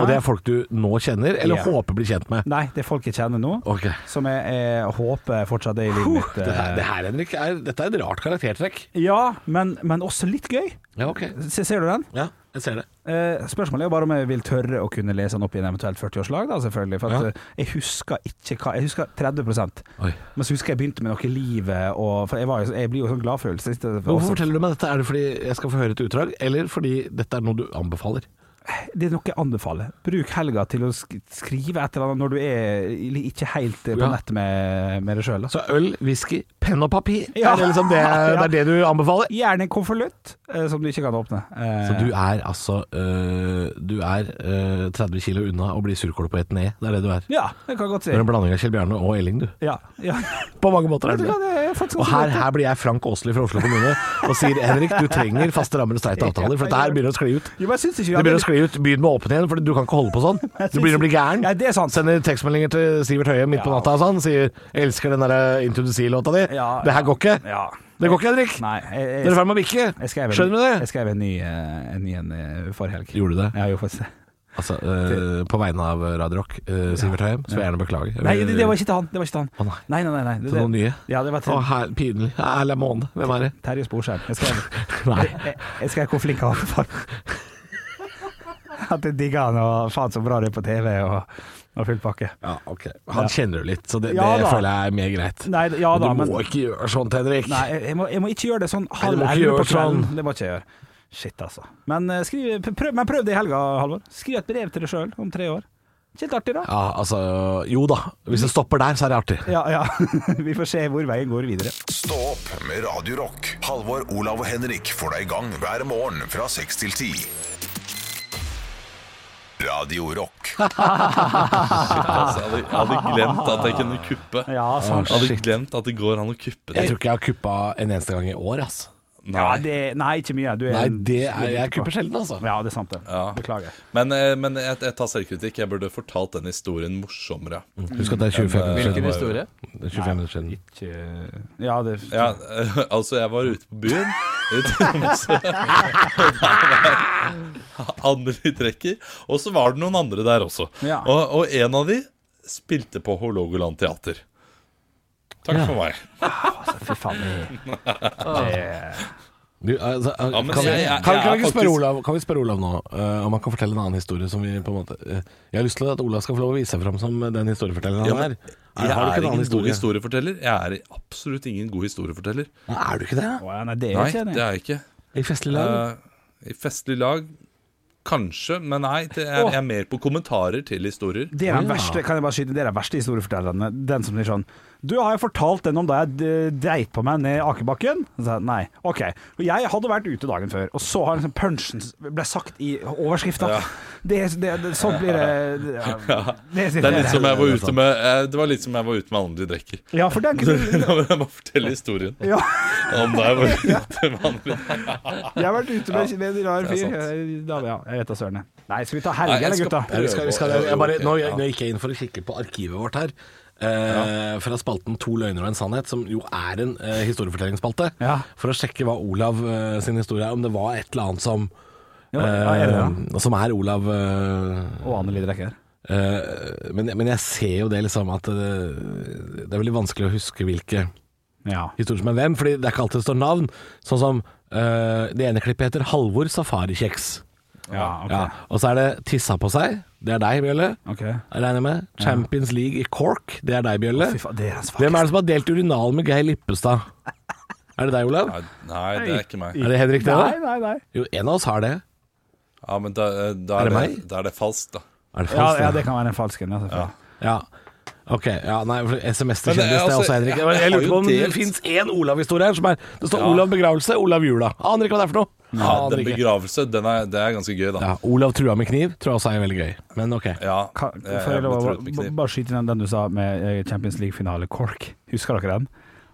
Speaker 3: og det er folk du nå kjenner, eller
Speaker 5: Ja.
Speaker 3: håper blir kjent med.
Speaker 5: Nei, det er folk jeg kjenner nå,
Speaker 3: Ok.
Speaker 5: som jeg, jeg håper fortsatt er i livet mitt.
Speaker 3: Det her,
Speaker 5: eh.
Speaker 3: det her Henrik, er, dette er et rart karaktertrekk.
Speaker 5: Ja, men, men også litt gøy.
Speaker 3: Ja, ok.
Speaker 5: Se, ser du den?
Speaker 3: Ja, jeg ser det.
Speaker 5: Eh, spørsmålet er jo bare om jeg vil tørre å kunne lese den opp i en eventuelt 40-årslag, da, selvfølgelig. For at,
Speaker 3: Ja.
Speaker 5: eh, jeg husker ikke hva Jeg husker 30
Speaker 3: Oi.
Speaker 5: Men så husker jeg begynte med noe i livet, og for jeg, var, jo- jeg blir jo sånn gladfølelse. siste-
Speaker 3: Hvorfor
Speaker 5: også-
Speaker 3: forteller du meg dette? Er det fordi jeg skal få høre et utdrag, eller fordi dette er noe du anbefaler?
Speaker 5: Det er noe jeg anbefaler. Bruk helga til å sk skrive et eller annet når du er i- ikke helt eh, på
Speaker 3: Ja.
Speaker 5: nett med, med deg sjøl.
Speaker 3: Så øl, whisky, penn og papir.
Speaker 5: *laughs* Ja.
Speaker 3: Er det, liksom det, det er det du anbefaler?
Speaker 5: Gjerne en konvolutt eh, som du ikke kan åpne. Eh,
Speaker 3: Så du er altså øh, Du er øh, 30 kilo unna å bli surkål på ett ned. Det er det du er.
Speaker 5: Ja, det kan jeg godt si.
Speaker 3: Du er en blanding av Kjell Bjarne og Elling, du.
Speaker 5: Ja, ja.
Speaker 3: På mange måter er
Speaker 5: Vet du
Speaker 3: du
Speaker 5: hva,
Speaker 3: det.
Speaker 5: det er faktisk
Speaker 3: Og
Speaker 5: ganske
Speaker 3: her,
Speaker 5: godt, det.
Speaker 3: her blir jeg Frank Aasli fra Oslo kommune og sier Henrik, du trenger faste rammer og *laughs* streite avtaler, for dette her begynner å skli ut.
Speaker 5: Jo, men jeg synes ikke
Speaker 3: Det begynner å skli ut. Begynn med åpen igjen, for du kan ikke holde på
Speaker 5: *laughs*
Speaker 3: sånn. Du begynner å bli gæren.
Speaker 5: Ja, det er sant.
Speaker 3: Sender tekstmeldinger til Sivert Høie midt på
Speaker 5: Ja.
Speaker 3: natta og sånn. Sier 'elsker den der eh, Into the Sea-låta di'.
Speaker 5: Ja,
Speaker 3: det her går ikke.
Speaker 5: Ja.
Speaker 3: Det går ikke, Henrik.
Speaker 5: Nei, jeg, jeg,
Speaker 3: Dere er i ferd med å bikke.
Speaker 5: jeg skrev en,
Speaker 3: Skjønner du det?
Speaker 5: Jeg skrev en ny eh, en, ny en eh, forrige helg.
Speaker 3: Gjorde du det?
Speaker 5: Ja, jo, faktisk det.
Speaker 3: Altså, eh, på vegne av Radio Rock, eh, Sivert Høyem, så vil jeg gjerne beklage.
Speaker 5: Nei, det, det var ikke til han. Det var ikke til han.
Speaker 3: Å, nei.
Speaker 5: Nei, nei, nei. nei.
Speaker 3: Så noen nye?
Speaker 5: Ja, det
Speaker 3: Å,
Speaker 5: var til
Speaker 3: her, pinlig. Erle Måne. Hvem er det?
Speaker 5: Terje Sporsheim. Jeg
Speaker 3: *laughs*
Speaker 5: skal
Speaker 3: Nei.
Speaker 5: jeg, jeg skal hvor flink han var. faen. *laughs* At jeg digga han, og faen så bra det er på TV, og, og full pakke.
Speaker 3: Ja, ok. Han kjenner du litt, så det,
Speaker 5: Ja,
Speaker 3: det
Speaker 5: da.
Speaker 3: føler jeg er mer greit.
Speaker 5: Nei, ja
Speaker 3: men
Speaker 5: da,
Speaker 3: du må
Speaker 5: men
Speaker 3: ikke gjøre sånt, Henrik.
Speaker 5: Nei, jeg- jeg må, jeg må ikke gjøre det sånn
Speaker 3: du
Speaker 5: halv
Speaker 3: må ikke
Speaker 5: elleve på
Speaker 3: gjøre
Speaker 5: kvelden.
Speaker 3: sånn.
Speaker 5: Det må ikke jeg gjøre. Shit, altså. Men, eh, skriv, prøv, men prøv det i helga, Halvor. Skriv et brev til deg sjøl om tre år. Ikke litt artig, da?
Speaker 3: Ja, altså Jo da. Hvis det stopper der, så er det artig.
Speaker 5: *laughs* Ja, ja. Vi får se hvor veien går videre.
Speaker 1: Stå opp med Radio Rock. Halvor, Olav og Henrik får deg i gang hver morgen fra 6 til 10. Radio Rock.
Speaker 6: Altså, jeg, hadde, jeg hadde glemt at jeg kunne kuppe.
Speaker 5: Ja, faen,
Speaker 6: jeg hadde
Speaker 5: shit.
Speaker 6: glemt at det går an å kuppe
Speaker 3: sånn Jeg
Speaker 6: det.
Speaker 3: tror ikke jeg har kuppa en eneste gang i år, ass.
Speaker 5: Ja,
Speaker 6: Nei.
Speaker 5: det, nei, ikke mye. Du er
Speaker 3: Nei, det er, jeg kupper sjelden, altså.
Speaker 5: Ja, det er sant, det.
Speaker 6: Ja.
Speaker 5: Beklager.
Speaker 6: Men, eh, men jeg, jeg tar selvkritikk. Jeg burde fortalt den historien morsommere.
Speaker 3: Husk at det er 25 minutter
Speaker 6: Hvilken
Speaker 3: siden.
Speaker 4: historie?
Speaker 3: Det er 25 minutter siden.
Speaker 5: Ikke Ja, det
Speaker 6: Ja, *laughs* eh, altså, jeg var ute på byen i Tromsø. *laughs* og der var Anneli Trekker. Og så var det noen andre der også.
Speaker 5: Ja.
Speaker 6: Og, og en av de spilte på Hålogaland teater. Takk for meg.
Speaker 5: Fy faen.
Speaker 6: *laughs*
Speaker 5: det- det-
Speaker 3: Du, altså,
Speaker 6: Ja, men
Speaker 3: kan, vi,
Speaker 6: jeg- jeg-
Speaker 3: kan, kan,
Speaker 6: jeg er
Speaker 3: vi ikke spørre
Speaker 6: faktisk-
Speaker 3: Olav, kan vi spørre Olav nå eh, om han kan fortelle en annen historie som vi på en måte eh, Jeg har lyst til at Olav skal få lov å vise seg fram som den historiefortelleren han
Speaker 6: Ja, men
Speaker 3: er.
Speaker 6: Jeg
Speaker 3: er. Har du
Speaker 6: er
Speaker 3: ikke en
Speaker 6: ingen
Speaker 3: annen
Speaker 6: god
Speaker 3: historie?
Speaker 6: historieforteller. Jeg er absolutt ingen god historieforteller.
Speaker 3: Er du ikke det?
Speaker 5: Å, ja, Nei, det er
Speaker 6: Nei,
Speaker 5: ikke
Speaker 6: det
Speaker 5: det.
Speaker 6: er jeg ikke.
Speaker 3: I festlig lag?
Speaker 6: Eh, I festlig lag Kanskje, men nei. Det er, jeg er mer på kommentarer til historier.
Speaker 5: Det er den
Speaker 3: Ja.
Speaker 5: verste, kan jeg bare skyte, det er den verste historiefortellerne. Den som sier sånn Du, har jeg fortalt den om da jeg d- dreit på meg ned i akebakken? Så, sa jeg, nei. OK. Og jeg hadde vært ute dagen før, og så har liksom punchen s- ble sagt i overskrifta. Det, er- det, det, sånn blir det det-
Speaker 6: *laughs*
Speaker 5: Det,
Speaker 6: Det er litt som jeg var
Speaker 3: sant.
Speaker 6: ute med eh, Det var litt som jeg var ute med Anneli Drekker.
Speaker 5: sånn. Ja, for den
Speaker 6: *laughs*
Speaker 5: kunne
Speaker 6: Jeg må fortelle historien
Speaker 5: ja,
Speaker 6: om da jeg var ute med Anneli
Speaker 5: Jeg har vært ute med, med en rar
Speaker 6: Det er
Speaker 5: fyr.
Speaker 6: sant.
Speaker 5: Ja, jeg vet da søren. jeg. Nei, skal vi ta
Speaker 6: Nei,
Speaker 5: helg,
Speaker 6: jeg
Speaker 5: eller,
Speaker 6: skal-
Speaker 5: gutta?
Speaker 3: Ja, vi skal, vi skal, jeg bare,
Speaker 6: Ok,
Speaker 3: nå,
Speaker 6: ja.
Speaker 3: nå gikk jeg inn for å kikke på arkivet vårt her. eh, Fra spalten To løgner og en sannhet, som jo er en eh, historiefortellingsspalte.
Speaker 5: Ja.
Speaker 3: For å sjekke hva Olav eh, sin historie er, om det var et eller annet som
Speaker 5: Ja, ja, er det det?
Speaker 3: eh, Som er Olav eh,
Speaker 5: Og Anneli Drekker.
Speaker 3: eh, men, men jeg ser jo det liksom at eh, Det er veldig vanskelig å huske hvilke
Speaker 5: Ja.
Speaker 3: historier som er hvem, fordi det er ikke alltid det står navn. Sånn som eh, det ene klippet heter 'Halvor safarikjeks'.
Speaker 5: ja, ok.
Speaker 3: Ja. Og så er det 'Tissa på seg'. Det er deg, Bjølle.
Speaker 5: Ok.
Speaker 3: Jeg regner med. Champions League i Cork, det er deg, Bjølle.
Speaker 5: Fy faen, det er hans
Speaker 3: Hvem er det som har delt urinal med Geir Lippestad? Er det deg, Olav?
Speaker 6: Nei, Nei, det er ikke meg.
Speaker 3: Er det Henrik, det?
Speaker 5: Nei,
Speaker 3: da?
Speaker 5: nei, nei.
Speaker 3: Jo, en av oss har det.
Speaker 6: Ja, men da,
Speaker 3: Er
Speaker 6: eh, da, er,
Speaker 3: det
Speaker 6: det
Speaker 3: meg?
Speaker 6: da er det falskt, da.
Speaker 3: Er det
Speaker 5: Ja,
Speaker 3: falskt?
Speaker 5: ja,
Speaker 3: det?
Speaker 5: det kan være en falsk en. Ja, selvfølgelig.
Speaker 3: Ja. Ok, ja, nei, for SMS til
Speaker 6: Men det er
Speaker 3: kjendis, det er
Speaker 6: altså-
Speaker 3: også Henrik. Jeg,
Speaker 6: jeg
Speaker 3: jeg
Speaker 6: har
Speaker 3: lurer
Speaker 6: jo
Speaker 3: på om det
Speaker 6: delt-
Speaker 3: fins én Olav-historie her som er Det står Olav begravelse, Olav jula. Aner ikke hva det er for noe.
Speaker 6: Ja,
Speaker 3: Aner
Speaker 6: den
Speaker 3: ikke.
Speaker 6: begravelse, den er, det er ganske gøy, da.
Speaker 3: Ja, Olav trua med kniv tror jeg også er veldig gøy. Men ok.
Speaker 6: Ja,
Speaker 5: Ka-
Speaker 6: jeg- jeg
Speaker 5: Får jeg lov
Speaker 6: må
Speaker 5: å
Speaker 6: tro det med
Speaker 5: b-
Speaker 6: kniv.
Speaker 5: bare skyte inn den du sa med eh, Champions League-finale Cork? Husker dere den?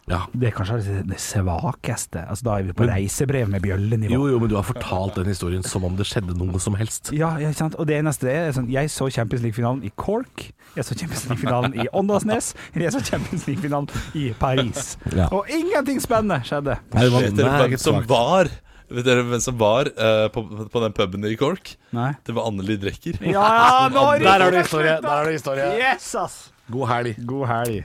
Speaker 3: Ja.
Speaker 5: Det er kanskje det- det svakeste. Altså, da er vi på reisebrev med bjøllenivå.
Speaker 3: Jo, jo, men du har fortalt den historien som om det skjedde noe som helst.
Speaker 5: Ja, ja, ikke sant? Og det neste er sånn Jeg så Champions League-finalen i Cork. Jeg så Champions League-finalen i Åndalsnes. Jeg så Champions League-finalen i Paris.
Speaker 3: Ja.
Speaker 5: Og ingenting spennende skjedde.
Speaker 3: Nei, det var
Speaker 6: Vet dere hvem
Speaker 3: meget
Speaker 6: som
Speaker 3: svakt.
Speaker 6: var Vet dere hvem som var eh, på, på den puben i Cork?
Speaker 5: Nei.
Speaker 6: Det var Anneli Drekker.
Speaker 5: Ja, nå har
Speaker 3: Der har du historie! Der har du historie.
Speaker 5: Yes, ass!
Speaker 3: God helg.
Speaker 5: God helg.